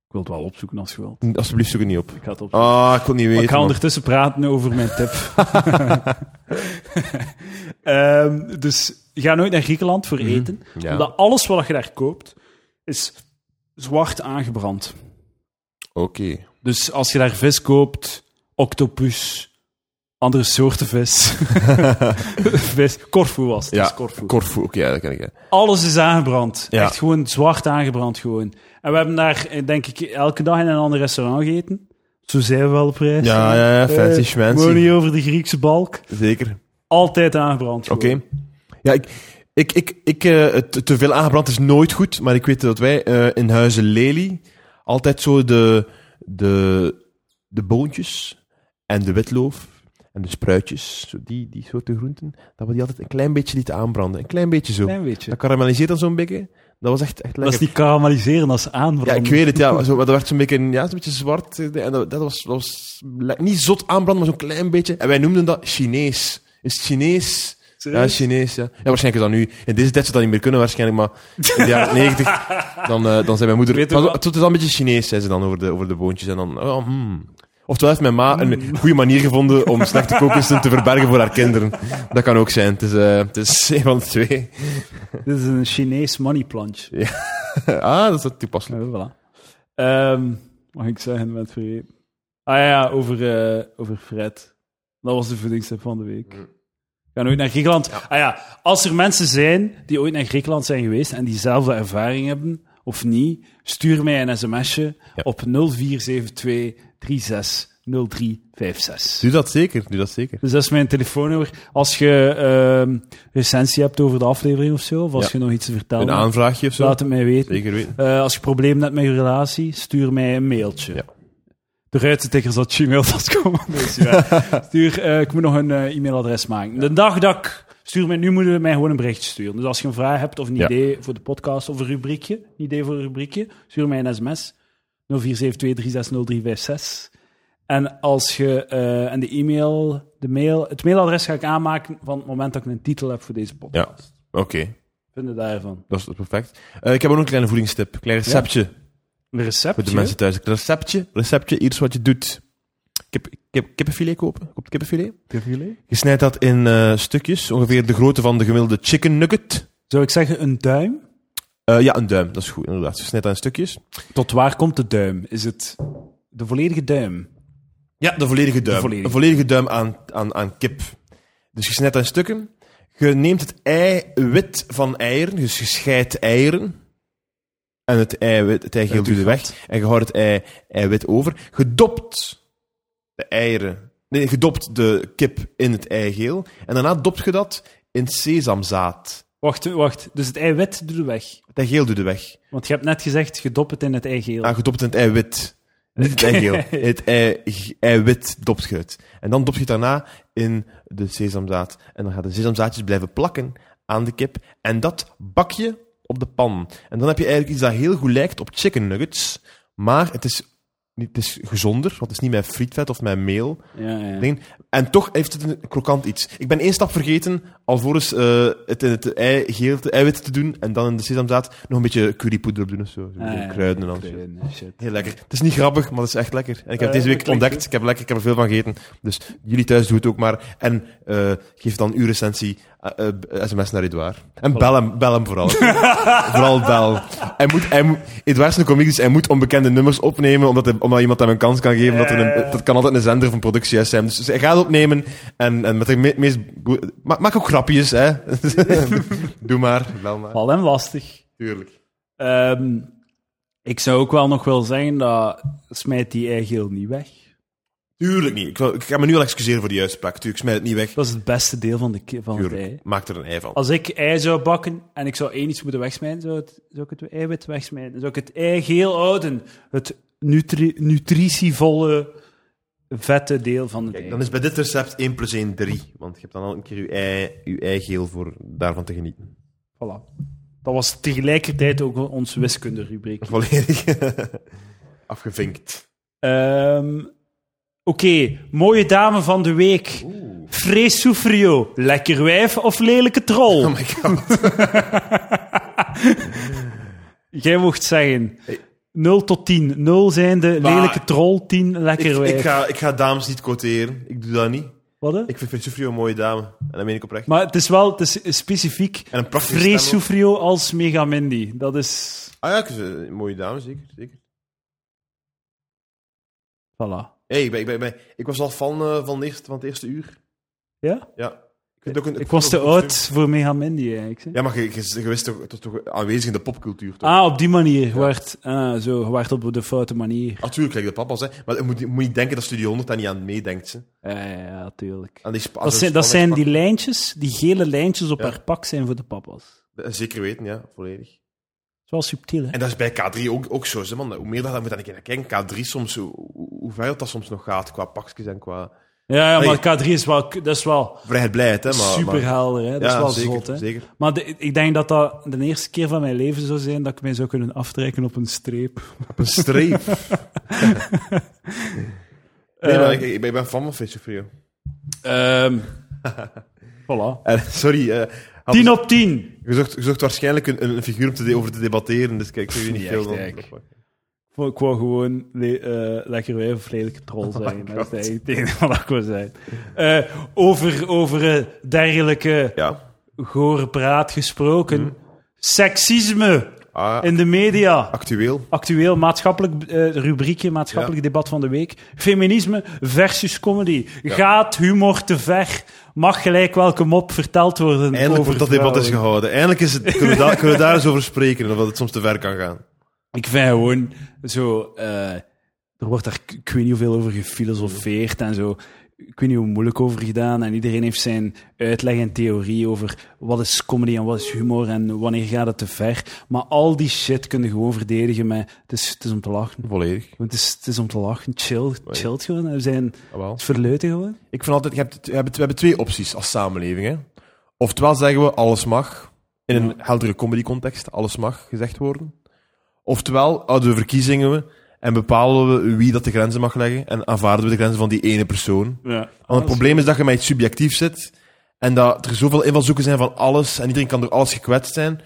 A: Ik wil het wel opzoeken als je wilt.
B: Alsjeblieft, zoek het niet op.
A: Ik ga het opzoeken.
B: Ah, ik kon niet
A: Maar
B: weten.
A: ik ga
B: man.
A: ondertussen praten over mijn
B: *laughs*
A: tip. Ehm, dus ga nooit naar Griekenland voor eten.
B: Mhm. Ja.
A: Omdat alles wat je daar koopt, is zwart aangebrand.
B: Oké.
A: Dus als je daar vis koopt, octopus, andere soorten
B: *laughs*
A: vis. vis Corfu was het.
B: Ja,
A: dus Corfu.
B: Corfu, oké, ja, dat ken ik. hè.
A: Alles is aangebrand.
B: Ja.
A: Echt gewoon zwart aangebrand gewoon. En we hebben daar, eh, denk ik, elke dag in een ander restaurant gegeten. Zo zijn we wel op reis.
B: Ja, ja, ja, fancy
A: Eh,
B: schmancy.
A: Gewoon niet over de Griekse balk.
B: Zeker.
A: Altijd aangebrand.
B: Oké.
A: gewoon.
B: Ja, ik... Ik, ik, ik eh, het te veel aangebrand is nooit goed, maar ik weet dat wij eh, in Huizen Lely altijd zo de, de, de boontjes en de witloof en de spruitjes, zo die, die soorten groenten, dat we die altijd een klein beetje lieten aanbranden. Een klein beetje zo.
A: Klein beetje.
B: Dat karamelliseert dan zo'n beetje. Dat was echt, echt lekker.
A: Dat is niet karamelliseren, dat is
B: Ja,
A: aanbranden.
B: ik weet het, ja. Maar, zo, maar dat werd zo'n beetje, ja, zo'n beetje zwart. eh, En dat, dat was, dat was le- niet zot aanbranden, maar zo'n klein beetje. En wij noemden dat Chinees. Is het Chinees? Ja,
A: Serieus?
B: Chinees, ja. Ja, waarschijnlijk is dat nu... In deze tijd zou dat niet meer kunnen, waarschijnlijk. Maar in de jaren
A: *laughs*
B: negentig, dan, eh, dan zei mijn moeder...
A: Weet je
B: Maar zo-
A: wat?
B: Het is al een beetje Chinees, zei ze dan, over de, over de boontjes. En dan... Oh, hmm. Oftewel heeft mijn ma
A: Hmm.
B: een goede manier gevonden om slechte kookkunsten te verbergen voor haar kinderen. Dat kan ook zijn. Het is, eh, het is een van de twee. *laughs*
A: Dit is een Chinees money plunge.
B: ah, dat is dat toepasselijk.
A: Ja, voilà. Ehm, mag ik zeggen, met vergeten. Ah ja, over, eh, over Fred. Dat was de voedingstip van de
B: Mm.
A: week. Ga nooit naar Griekenland. Ah ja, als er mensen zijn die ooit naar Griekenland zijn geweest en diezelfde ervaring hebben, of niet, stuur mij een sms'je
B: Ja.
A: op 0472 360356.
B: Doe dat zeker, doe dat zeker.
A: Dus dat is mijn telefoonnummer. Als je ehm recensie hebt over de aflevering of zo, of als
B: Ja.
A: je nog iets te vertellen
B: Een
A: hebt,
B: aanvraagje of zo.
A: laat het mij weten.
B: Zeker weten.
A: Eh, als je problemen hebt met je relatie, stuur mij een mailtje.
B: Ja.
A: De ruitentikkers at *laughs* gmail.com. Dus ja,
B: *laughs*
A: stuur, eh, ik moet nog een eh, e-mailadres maken. De dag dat ik stuur mij, nu moeten we mij gewoon een berichtje sturen. Dus als je een vraag hebt of een
B: Ja.
A: idee voor de podcast of een rubriekje, een idee voor een rubriekje, stuur mij een sms. 0472360356. En als je eh, en de e-mail, de mail, het mailadres ga ik aanmaken van het moment dat ik een titel heb voor deze podcast.
B: Oké,
A: Vinden daarvan.
B: dat is dat is perfect. Eh, ik heb ook nog een kleine voedingstip. Een klein receptje
A: Een
B: voor
A: receptje.
B: de mensen thuis. Een receptje, receptje, iets wat je doet. Kip, kip, kippenfilet kopen. Koop het kippenfilet. Je snijdt dat in eh, stukjes, ongeveer de grootte van de gemiddelde chicken nugget.
A: Zou ik zeggen een duim?
B: Eh, ja, een duim, dat is goed, inderdaad. Je snijdt dat in stukjes.
A: Tot waar komt de duim? Is het de volledige duim?
B: Ja, de volledige duim.
A: De volledige.
B: Een volledige duim aan, aan, aan kip. Dus je snijdt dat in stukken. Je neemt het eiwit van eieren, dus je scheidt eieren. En het eiwit, het eigeel doet de weg. En je houdt het ei, eiwit over. Gedopt de eieren. Nee, gedopt de kip in het eigeel. En daarna dopt je dat in sesamzaad.
A: Wacht, wacht. Dus het eiwit doet de weg.
B: Het eigeel doet de weg.
A: Want je hebt net gezegd, gedop het in het eigeel.
B: Ah, gedopt in het eiwit. Niet het eigeel.
A: *laughs*
B: In het ei, eiwit dopt je het. En dan dop je het daarna in de sesamzaad. En dan gaan de sesamzaadjes blijven plakken aan de kip. En dat bak je op de pan. En dan heb je eigenlijk iets dat heel goed lijkt op chicken nuggets. Maar het is, niet- het is gezonder, want het is niet met frietvet of met meel.
A: Ja, ja.
B: Dingen. En toch heeft het een krokant iets. Ik ben één stap vergeten, alvorens eh, het in het ei, geel, het eiwit te doen en dan in de sesamzaad nog een beetje currypoeder op doen of zo. Zo,
A: Ah, ja.
B: Kruiden en al.
A: Kruiden, shit.
B: Heel lekker. Het is niet grappig, maar het is echt lekker. En ik heb
A: Eh,
B: deze
A: dat
B: week
A: klinkt
B: ontdekt,
A: goed.
B: ik heb, lekker, ik heb er veel van gegeten. Dus jullie thuis doen het ook maar. En eh, geef dan uw recensie, eh, eh, sms naar Edouard. En bel hem, bel hem *laughs* vooral. vooral bel. Hij moet, hij moet, Edouard is een komiek, dus hij moet onbekende nummers opnemen, omdat, hij- omdat iemand hem een kans kan geven. Dat, er een- dat kan altijd een zender van productie zijn. Dus hij gaat het opnemen en, en met de me- meest... boe- Ma- maak ook grapjes, hè. *laughs* Doe maar, bel maar.
A: Val hem lastig.
B: Tuurlijk.
A: Ehm, ik zou ook wel nog wel zeggen dat smijt die eigeel niet weg.
B: Tuurlijk niet. Ik, wil- ik ga me nu al excuseren voor die uitspraak. Tuurlijk, ik smijt het niet weg.
A: Dat is het beste deel van, de ki- van het
B: Tuurlijk,
A: ei.
B: maak er een ei van.
A: Als ik ei zou bakken en ik zou één iets moeten wegsmijten, zou, het- zou ik het eiwit wegsmijten. Zou ik het eigeel houden. Het nutri- nutritievolle vette deel van het
B: Kijk,
A: ei.
B: dan is bij dit recept 1 plus 1 3. Want je hebt dan al een keer je ei, je eigeel voor daarvan te genieten. *laughs*
A: Voilà. Dat was tegelijkertijd ook ons wiskunderubriek.
B: Volledig afgevinkt.
A: Ehm Oké, mooie dame van de week. Frees Soufrio, lekker wijf of lelijke troll?
B: *laughs*
A: *laughs*
B: Oh my god.
A: Jij mocht zeggen.
B: Hey.
A: 0 tot 10. 0 zijn de
B: Maar-
A: lelijke troll, 10
B: ik,
A: lekker wijf.
B: ik, ga, ik ga dames niet quoteren. Ik doe dat niet.
A: Wat, hè?
B: Ik vind Sufrio een mooie dame. En dat meen ik oprecht.
A: Maar het is wel het is specifiek
B: En een prachtige
A: Frees
B: stem ook.
A: Soufrio als Megamindi. Dat is...
B: Ah ja, ik vind ze een mooie dame, zeker. zeker.
A: Voilà.
B: Hey, ik, ben, ik, ben, ik, ben- ik was al fan eh, van, de eerste, van het eerste uur.
A: Ja?
B: Ja. Ik, vind het ook een-
A: Ik
B: ik
A: was
B: vond het
A: te
B: ook een
A: oud voor Megamindi, eigenlijk. zeg.
B: Ja, maar je, je, je wist toch, het was toch aanwezig in de popcultuur, toch?
A: Ah, op die manier. Werd, ah, zo, je werd op de foute manier.
B: Natuurlijk, kijk de papa's, hè. Maar je moet, je moet niet denken dat Studio 100 daar niet aan meedenkt, hè.
A: Ja, ja, ja, tuurlijk.
B: Aan die spa- aan
A: Dat
B: zo'n
A: zijn, dat zijn die
B: spanningspak.
A: lijntjes, die gele lijntjes op
B: Ja.
A: haar pak zijn voor de papa's. Dat
B: Zeker weten, ja, volledig.
A: is wel subtiel, hè?
B: En dat is bij K3 ook, ook zo, hè, man. Hoe meer dat je moet dan een keer naar kijken, K3 soms, hoe, hoe- hoe ver dat soms nog gaat qua pakjes en qua
A: Ja, ja
B: Nee.
A: maar K3 is wel, dat is wel
B: vrijheid, blijheid, hè. Maar,
A: super
B: maar,
A: helder, hè? Dat is
B: Ja,
A: wel
B: zeker,
A: zot, hè?
B: zeker.
A: Maar de- ik denk dat dat de eerste keer van mijn leven zou zijn dat ik mij zou kunnen aftrekken op een streep.
B: Op een streep.
A: *laughs*
B: nee,
A: Eh.
B: maar ik, ik ben- ik ben fan van Face of Rio. *laughs*
A: Ehm voilà.
B: Eh, sorry, eh, had-
A: 10 op 10.
B: je, zocht, je zocht waarschijnlijk een, een figuur om te de- over te debatteren, dus kijk, ik weet niet
A: Niet
B: veel
A: echt,
B: van.
A: eigenlijk. Ik wou gewoon le- eh, lekker wijf of lelijke troll zijn. dat is
B: Oh God.
A: eigenlijk het enige wat ik wou zijn. over over eh, dergelijke
B: Ja.
A: gore praat gesproken. Seksisme
B: Hmm. Ah,
A: in de media.
B: actueel.
A: Actueel maatschappelijk eh, rubriekje, maatschappelijk debat van de week. Feminisme versus comedy. Gaat humor te ver? Mag gelijk welke mop verteld worden?
B: Eindelijk
A: over
B: wordt dat debat
A: vrouwen?
B: eens gehouden. Eindelijk is het, kunnen, we daar, kunnen we daar eens over spreken, of dat het soms te ver kan gaan.
A: Ik vind gewoon zo. eh, er wordt daar, ik weet niet hoeveel over gefilosofeerd en zo. Ik weet niet hoe moeilijk over gedaan. En iedereen heeft zijn uitleg en theorie over wat is comedy en wat is humor en wanneer gaat het te ver. Maar al die shit kun je gewoon verdedigen met. Het is, het is om te lachen.
B: Volledig.
A: Want Het is, het is om te lachen. Chill, chillt gewoon. We zijn
B: Jawel.
A: het verleuten gewoon.
B: Ik vind altijd, je hebt, je hebt- we hebben twee opties als samenleving. Hè. Oftewel zeggen we, alles mag. In een heldere comedy-context, alles mag gezegd worden. Oftewel houden we verkiezingen we en bepalen we wie dat de grenzen mag leggen en aanvaarden we de grenzen van die ene persoon.
A: Ja.
B: Want het probleem is dat je met iets subjectief zit en dat er zoveel invalshoeken zijn van alles en iedereen kan door alles gekwetst zijn.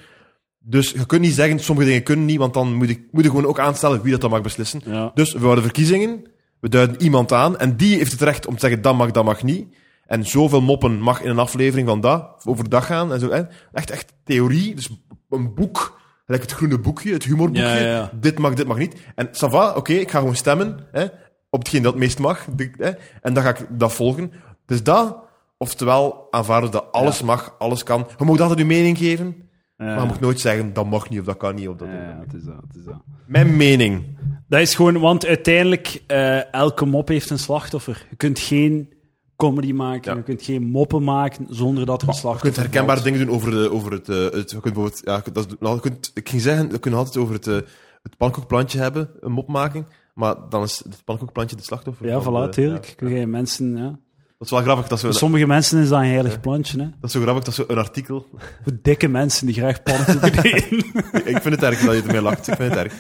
B: Dus je kunt niet zeggen, sommige dingen kunnen niet, want dan moet je, moet je gewoon ook aanstellen wie dat dan mag beslissen.
A: Ja.
B: Dus we houden verkiezingen, we duiden iemand aan en die heeft het recht om te zeggen dat mag, dat mag niet. En zoveel moppen mag in een aflevering van dat overdag gaan en zo. hè. Echt, echt theorie, dus een boek, gelijk het groene boekje, het humorboekje.
A: Ja, ja, ja.
B: Dit mag, dit mag niet. En ça va, oké, ik ga gewoon stemmen hè, op hetgeen dat het meest mag. de- hè, en dan ga ik dat volgen. Dus dat, oftewel aanvaarden dat alles mag, alles kan. Je mag altijd je mening geven, maar je mag nooit zeggen dat mag niet of dat kan niet. Of dat
A: ja, het is dat, het is dat.
B: Mijn mening.
A: Dat is gewoon, want uiteindelijk, eh, elke mop heeft een slachtoffer. Je kunt geen comedy maken,
B: Ja.
A: je kunt geen moppen maken zonder dat er een
B: Je
A: slachtoffer
B: kunt herkenbare
A: valt.
B: dingen doen over, de, over het, eh, het... Je kunt bijvoorbeeld... Ja, dat, is- nou, je kunt, ik ging zeggen, we kunnen altijd over het, eh, het pankoekplantje hebben, een mop maken. Maar dan is het pankoekplantje de slachtoffer.
A: Ja,
B: van de-
A: voilà, tuurlijk.
B: eh, ja.
A: Kun je mensen, ja.
B: Dat is wel grappig. Dat is,
A: Voor
B: zo,
A: sommige mensen is dat een heilig plantje. Hè.
B: dat is zo grappig, dat is zo een artikel...
A: Voor dikke mensen die graag
B: *laughs*
A: pannenkoeken eten.
B: ik ik vind het erg dat je ermee lacht. Ik vind het erg.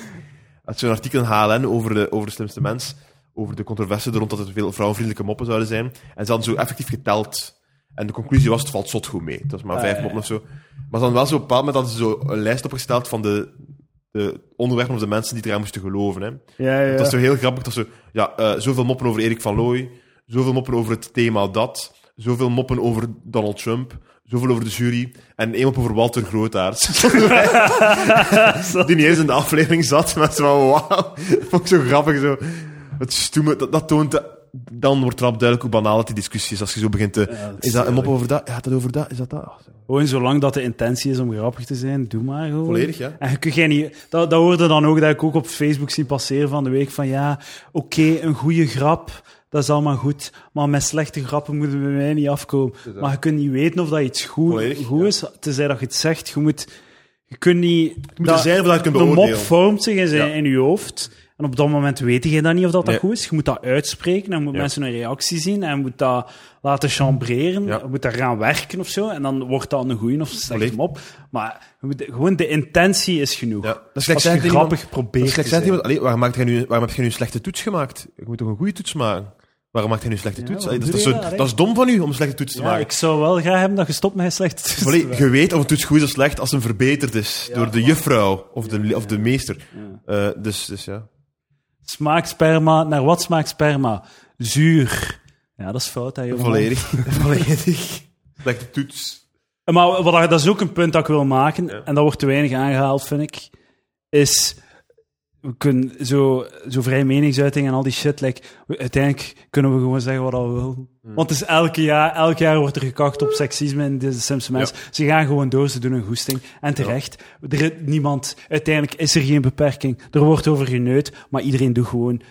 B: Had zo'n artikel in HLN over de, over de slimste mens, over de controverse er rond dat er veel vrouwenvriendelijke moppen zouden zijn. En ze hadden zo effectief geteld. En de conclusie was, het valt zot goed mee. Het was maar
A: Ah,
B: vijf
A: ja,
B: moppen of zo. Maar ze hadden wel zo op een bepaald moment hadden ze zo een lijst opgesteld van de, de onderwerpen of de mensen die eraan moesten geloven. Hè.
A: ja, ja.
B: Dat is zo heel grappig. Dat is zo, ja, eh, zoveel moppen over Erik van Looy, zoveel moppen over het thema dat, zoveel moppen over Donald Trump, zoveel over de jury en één mop over Walter
A: *laughs*
B: Grootaerts. *laughs* Die niet eens in de aflevering zat. Maar zo van, wauw. Dat vond ik zo grappig. Zo. Het stoeme, dat, dat toont... de- dan wordt rap duidelijk hoe banaal het die discussie is. Als je zo begint te...
A: Ja, dat
B: is dat een mop
A: tuurlijk.
B: over dat? Gaat dat over dat? Is dat dat? Ah, zo.
A: Gewoon zolang dat de intentie is om grappig te zijn, doe maar gewoon.
B: Volledig, ja.
A: En je kunt geen, dat, dat hoorde dan ook dat ik ook op Facebook zie passeren van de week van ja, oké, een goede grap, dat is allemaal goed, maar met slechte grappen moeten we bij mij niet afkomen. Maar je kunt niet weten of dat iets goed,
B: Volledig,
A: goed
B: ja.
A: is, tenzij dat je het zegt. Je moet, Je kunt niet...
B: Je moet er zijn vanuit
A: de
B: kunnen
A: mop
B: beoordelen.
A: vormt zich in, zijn,
B: Ja.
A: in je hoofd. En op dat moment weet je dat niet of dat,
B: Nee.
A: dat goed is. Je moet dat uitspreken en moet mensen een reactie zien en moet dat laten chambreren.
B: Ja.
A: Je moet daar gaan werken of zo. En dan wordt dat een goeie of een slechte
B: Volledig.
A: mop. Maar je moet- gewoon de intentie is genoeg.
B: Ja. Dat is
A: Als
B: slecht
A: je
B: zijn tegen iemand-
A: grappig probeert
B: Slecht
A: te
B: zijn
A: zijn.
B: iemand, allee, waarom, maakt jij nu, waarom heb je nu een slechte toets gemaakt? Je moet toch een goede toets maken? Waarom maakt hij nu een slechte
A: Ja,
B: toets?
A: waarom
B: Allee, dat, is
A: doe je
B: zo-
A: dat, hè?
B: dat is dom van u om een slechte toets te
A: Ja,
B: maken.
A: ik zou wel graag hebben dat je stopt met een slechte
B: *laughs*
A: toets te
B: Allee,
A: maken.
B: je weet of een toets goed is of slecht als hem verbeterd is door de juffrouw of de, of de meester. Eh, dus, dus ja.
A: Smaakt sperma? Naar wat smaakt sperma? Zuur. Ja, dat is fout, hè, jongen. *laughs*
B: Volledig.
A: Volledig.
B: Slechte toets.
A: Maar wat, dat is ook een punt dat ik wil maken,
B: Ja.
A: en dat wordt te weinig aangehaald, vind ik, is... We kunnen zo, zo vrij meningsuiting en al die shit, like, we- uiteindelijk kunnen we gewoon zeggen wat we willen. Want het is elke jaar, elk jaar wordt er gekakt op seksisme in de Simpson mensen. Ze gaan gewoon door, ze doen een goesting. En terecht, er is niemand, uiteindelijk is er geen beperking. Er wordt over geneut, maar iedereen doet gewoon...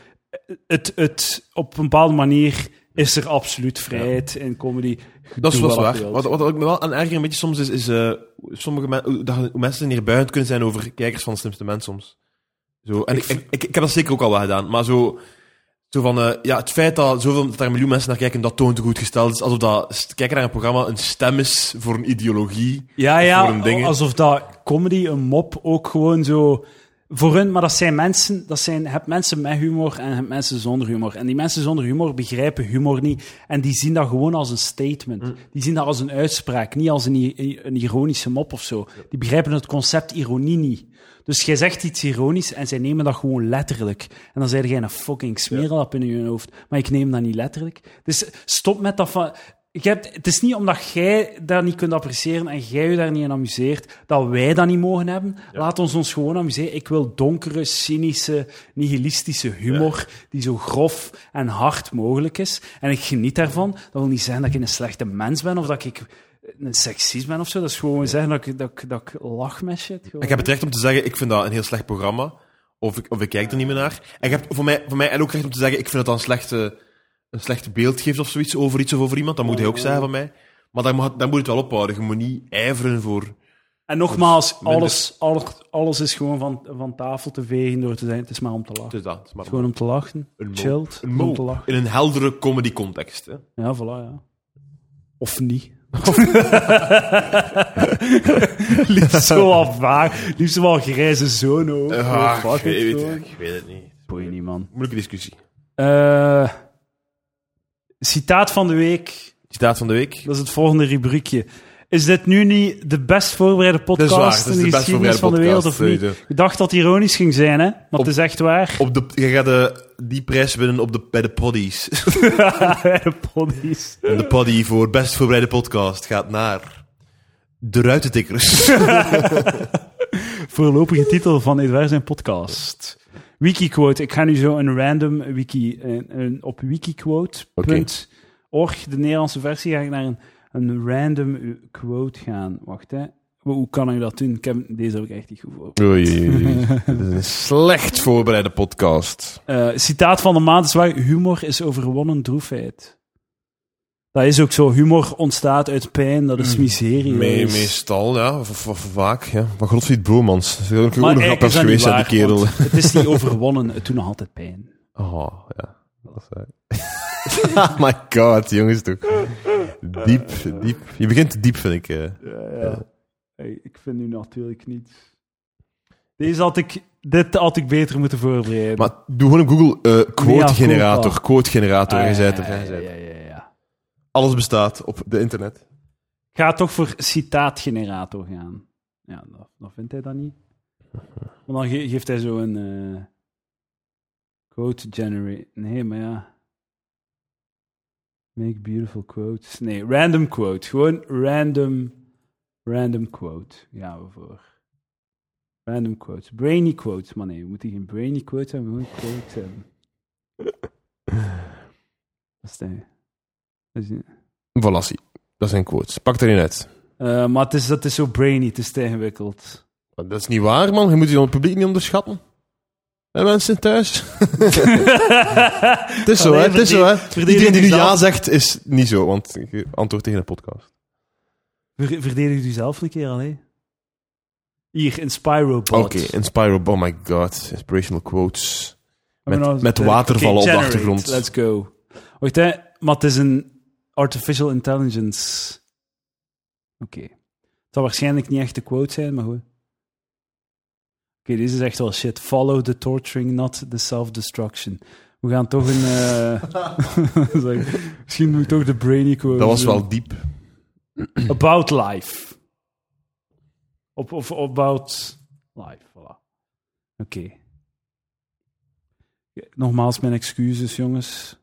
A: Het, het, op een bepaalde manier is er absoluut vrijheid in comedy.
B: Dat is
A: Doe
B: wel
A: wat
B: waar.
A: je wilt.
B: Wat, wat ik me wel aan erger een beetje soms is, is eh, sommige men- hoe- dat- hoe mensen neerbuigend kunnen zijn over kijkers van de slimste mens soms. Zo, en ik, ik, ik, ik heb dat zeker ook al wel gedaan, maar zo, zo van, eh, ja, het feit dat, zoveel, dat daar een miljoen mensen naar kijken, dat toont hoe goed gesteld is. Alsof dat st- kijken naar een programma een stem is voor een ideologie.
A: Ja,
B: Of
A: ja,
B: voor hun dingen.
A: alsof dat comedy, een mop, ook gewoon zo... Voor hun, maar dat zijn mensen, dat zijn, je hebt mensen met humor en je hebt mensen zonder humor. En die mensen zonder humor begrijpen humor niet. En die zien dat gewoon als een statement.
B: Mm.
A: Die zien dat als een uitspraak, niet als een, i- een ironische mop of zo. Die begrijpen het concept ironie niet. Dus jij zegt iets ironisch en zij nemen dat gewoon letterlijk. En dan zei jij een fucking smeerlap in je hoofd. Maar ik neem dat niet letterlijk. Dus stop met dat van... Ik heb, het is niet omdat jij dat niet kunt appreciëren en jij je daar niet in amuseert, dat wij dat niet mogen hebben. Laat ons ons gewoon amuseren. Ik wil donkere, cynische, nihilistische humor die zo grof en hard mogelijk is. En ik geniet daarvan. Dat wil niet zeggen dat ik een slechte mens ben of dat ik een seksist ben of zo. Dat is gewoon zeggen dat ik, dat, ik, dat ik lach met shit. gewoon.
B: Ik heb het recht om te zeggen, ik vind dat een heel slecht programma. Of ik, of ik kijk er niet meer naar. En je hebt voor mij, voor mij en ook recht om te zeggen, ik vind dat dat een slechte, een slecht beeld geeft of zoiets over iets of over iemand. Dat moet
A: Oh.
B: hij ook zeggen van mij. Maar daar, mag, daar moet het wel ophouden. Je moet niet ijveren voor...
A: En nogmaals,
B: minder.
A: alles, alles, alles is gewoon van, van tafel te vegen door te zijn. Het is maar om te lachen.
B: Het is dat. Het is maar
A: Gewoon om te lachen.
B: een mol.
A: Chilled.
B: Een
A: Om te
B: mol.
A: lachen.
B: In een heldere comedy context. Hè.
A: Ja, voilà, ja. Of
B: *laughs*
A: niet. liefst zo wat vaag. Liefst wel grijze zone ook. Oh,
B: Ah,
A: Fuck
B: ik, weet,
A: it,
B: het-
A: gewoon.
B: ik weet het niet.
A: Boeien niet, man.
B: Moeilijke discussie.
A: Eh, citaat van de week.
B: Citaat van de week.
A: Dat is het volgende rubriekje. Is dit nu niet de best voorbereide podcast
B: waar, dat is
A: in
B: de
A: de,
B: best
A: geschiedenis
B: voorbereide
A: van de wereld, of
B: podcast,
A: niet?
B: sowieso.
A: Ik dacht dat het ironisch ging zijn, hè? Maar het is echt waar. *laughs*
B: Op de, je gaat de, die prijs winnen op de, bij de poddies. *laughs*
A: de ponies.
B: En de poddy voor best voorbereide podcast gaat naar... De ruitentikkers.
A: Voorlopige titel van Edouard zijn podcast. Wikiquote. Ik ga nu zo een random wiki... Een, een- op wikiquote.org, de Nederlandse versie, ga ik naar een, een random quote gaan. Wacht, hè. Hoe- Hoe kan ik dat doen? Ik heb, deze heb ik echt niet goed voor.
B: Oei,
A: *laughs*
B: Dit is een slecht voorbereide podcast.
A: Eh, citaat van de maand is waar humor is overwonnen droefheid. Dat is ook zo. Humor ontstaat uit pijn, dat
B: Hmm.
A: is miserie.
B: Me-
A: dat is-
B: meestal, ja. Of, of- of vaak, ja. Van Godfried Boemans. Dat is ook een
A: eigenlijk
B: grap
A: is dat
B: geweest,
A: niet
B: hè, die
A: waar,
B: kerel.
A: want Het is niet overwonnen, het doet nog altijd pijn.
B: Oh, ja. Dat is waar. *laughs* oh my god, jongens toch. Diep, diep. Je begint te diep, vind ik. eh. Ja.
A: Hey, ik vind nu natuurlijk niet. Deze had ik, dit had ik beter moeten voorbereiden.
B: Maar doe gewoon op Google eh, quote
A: Mea
B: generator.
A: culpa.
B: quote generator.
A: Ah,
B: je
A: ja,
B: zei het er,
A: ja,
B: je zei
A: ja,
B: het er.
A: ja, ja.
B: Alles bestaat op de internet.
A: Ik ga toch voor citaatgenerator gaan. Ja, dan, dan vindt hij dat niet. Want dan ge- geeft hij zo een. eh, quote generate. Nee, maar ja. Make beautiful quotes. Nee, random quote. Gewoon random. Random quote. Gaan we voor. Random quotes. Brainy quotes. Maar nee, we moeten geen brainy quotes hebben, we moeten gewoon quotes hebben. Dat is de- dat is-
B: Valassie. Dat zijn quotes. Pak er een uit.
A: eh, maar het is, dat is zo brainy, het is te ingewikkeld.
B: Maar Dat is niet waar, man. Je moet je dan het publiek niet onderschatten. En
A: *laughs*
B: mensen thuis. *laughs* Het is zo, hè. Het is zo, hè.
A: verdien
B: Iedereen die nu
A: jezelf.
B: ja zegt, is niet zo. Want je antwoordt tegen een podcast.
A: Ver, verdedig u zelf een keer alleen. Hier, in Spyro
B: Oké,
A: Bot.
B: in Spyro, oh my god. Inspirational quotes.
A: Maar nou is
B: Met, met
A: het, eh, oké,
B: watervallen op
A: generate.
B: de achtergrond.
A: Let's go. Wacht, hè. Maar het is een artificial intelligence. Oké. Het zal waarschijnlijk niet echt de quote zijn, maar goed. Oké, deze is echt wel shit. Follow the torturing, not the self-destruction. We gaan toch een... eh, *laughs* zeg, Misschien moet ik toch de brainy quote
B: Dat was
A: doen.
B: wel diep.
A: About life. Op, of about life, voilà. Oké. Ja, Nogmaals mijn excuses, jongens.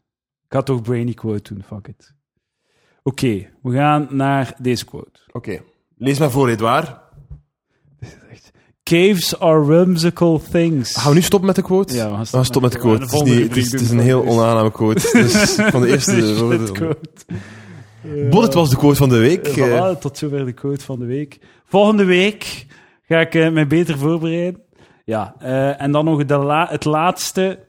A: Ik had toch brainy quote doen, fuck it. Oké, we gaan naar deze quote.
B: Oké. Lees maar voor, Edouard.
A: Caves are whimsical things.
B: Gaan we nu stoppen met de quote?
A: Ja, we gaan
B: we
A: stoppen
B: gaan stoppen met de
A: met de-
B: quote.
A: we
B: Het
A: gaan de volgende
B: is, niet- het is,
A: rubriek
B: het is een
A: doen.
B: heel onaangename quote.
A: *laughs*
B: Dus van de eerste...
A: quote.
B: Bullet was de quote van de week.
A: Eh,
B: Eh,
A: voilà, tot zover de quote van de week. Volgende week ga ik eh, mij beter voorbereiden. Ja, eh, en dan nog de la- het laatste,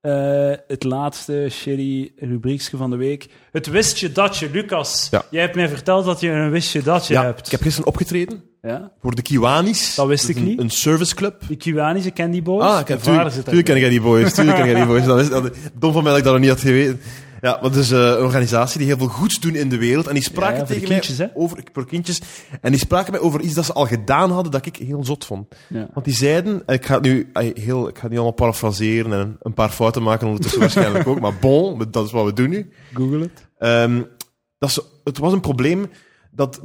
A: eh, het laatste shitty rubriekje van de week. Het wist je dat je, Lucas.
B: Ja.
A: Jij hebt mij verteld dat je een wist je dat je
B: ja,
A: hebt.
B: ik heb gisteren opgetreden
A: Ja?
B: voor de Kiwanis.
A: Dat wist
B: is
A: ik
B: een-
A: niet.
B: Een serviceclub.
A: Die Cubanische Candy Boys.
B: Ah, ik heb
A: Mijn vader
B: tuurlijk,
A: zit
B: tuurlijk ken ik die boys. Tuurlijk ken ik die boys. Dat is, dat, dom van mij dat ik dat nog niet had geweten. Ja, want het is eh, een organisatie die heel veel goeds doen in de wereld. En die spraken
A: Ja, ja, voor de
B: tegen
A: kindjes, hè?
B: mij over, voor kindjes. En die spraken mij over iets dat ze al gedaan hadden dat ik heel zot vond.
A: Ja.
B: Want die zeiden, en ik ga het nu, ay, heel, ik ga het nu allemaal parafraseren en een paar fouten maken ondertussen *laughs* waarschijnlijk ook. Maar bon, dat is wat we doen nu.
A: Google het.
B: Ehm, dat ze, het was een probleem dat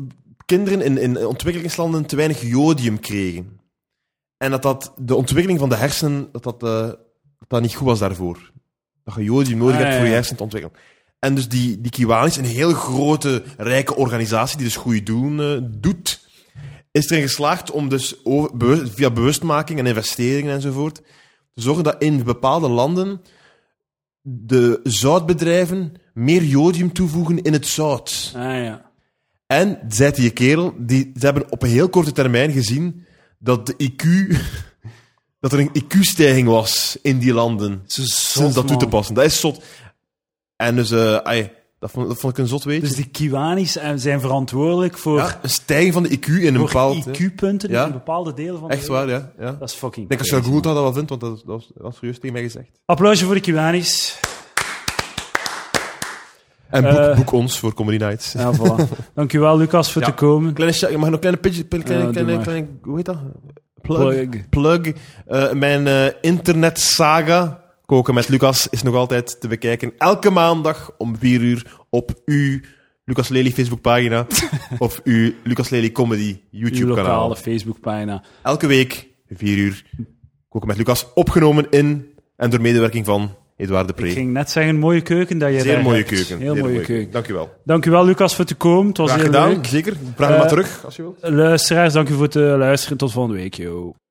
B: kinderen in, in ontwikkelingslanden te weinig jodium kregen. En dat, dat de ontwikkeling van de hersenen dat dat, eh, dat dat niet goed was daarvoor. Dat je jodium nodig
A: Ah,
B: hebt
A: ja,
B: voor je
A: ja.
B: hersenen te ontwikkelen. En dus die, die Kiwanis, een heel grote, rijke organisatie die dus goede doen eh, doet, is erin geslaagd om dus over- bewust- via bewustmaking en investeringen enzovoort te zorgen dat in bepaalde landen de zoutbedrijven meer jodium toevoegen in het zout.
A: Ah ja.
B: En, zei die kerel, die, ze hebben op een heel korte termijn gezien dat de IQ... *laughs* Dat er een IQ-stijging was in die landen. Sinds dat toe te
A: man.
B: passen. Dat is zot. En dus, eh ai, dat, vond, dat vond ik een zot weetje.
A: Dus die Kiwanis eh, zijn verantwoordelijk voor,
B: ja, een stijging van de IQ in een
A: voor
B: bepaald...
A: IQ-punten
B: Ja.
A: in bepaalde delen van de
B: Echt
A: wereld.
B: waar, ja. ja.
A: Dat is fucking
B: Ik denk als je dat gegoogeld had, dat wel vindt, want dat, was- dat was, dat was serieus tegen mij gezegd.
A: Applausje voor de Cubanis.
B: En boek,
A: Eh.
B: boek ons voor Comedy Nights. *laughs*
A: Ja, voilà. Dankjewel, Lucas, voor
B: Ja.
A: te komen.
B: Kleine, sh- je mag nog een kleine pitch, kleine,
A: Ja, doe
B: kleine,
A: maar.
B: kleine- hoe heet dat? Plug. Plug. Eh, mijn eh, internetsaga, Koken met Lucas, is nog altijd te bekijken. Elke maandag om 4 uur op uw Lucas Lely
A: *laughs*
B: Facebookpagina of uw Lucas Lely Comedy
A: Uw lokale
B: YouTube-kanaal.
A: Facebookpagina.
B: Elke week, 4 uur, Koken met Lucas, opgenomen in en door medewerking van Edouard de
A: Ik
B: Pre.
A: ging net zeggen, mooie keuken dat je
B: Zeer
A: daar
B: mooie
A: hebt.
B: keuken.
A: Heel
B: Zeer
A: mooie keuken.
B: Dankjewel.
A: Dankjewel, Lucas, voor te komen. Het was
B: Graag
A: heel
B: gedaan,
A: leuk.
B: zeker. Vraag me
A: Eh,
B: maar terug, als je wilt.
A: Luisteraars, dankjewel voor het eh, luisteren. Tot volgende week, joh.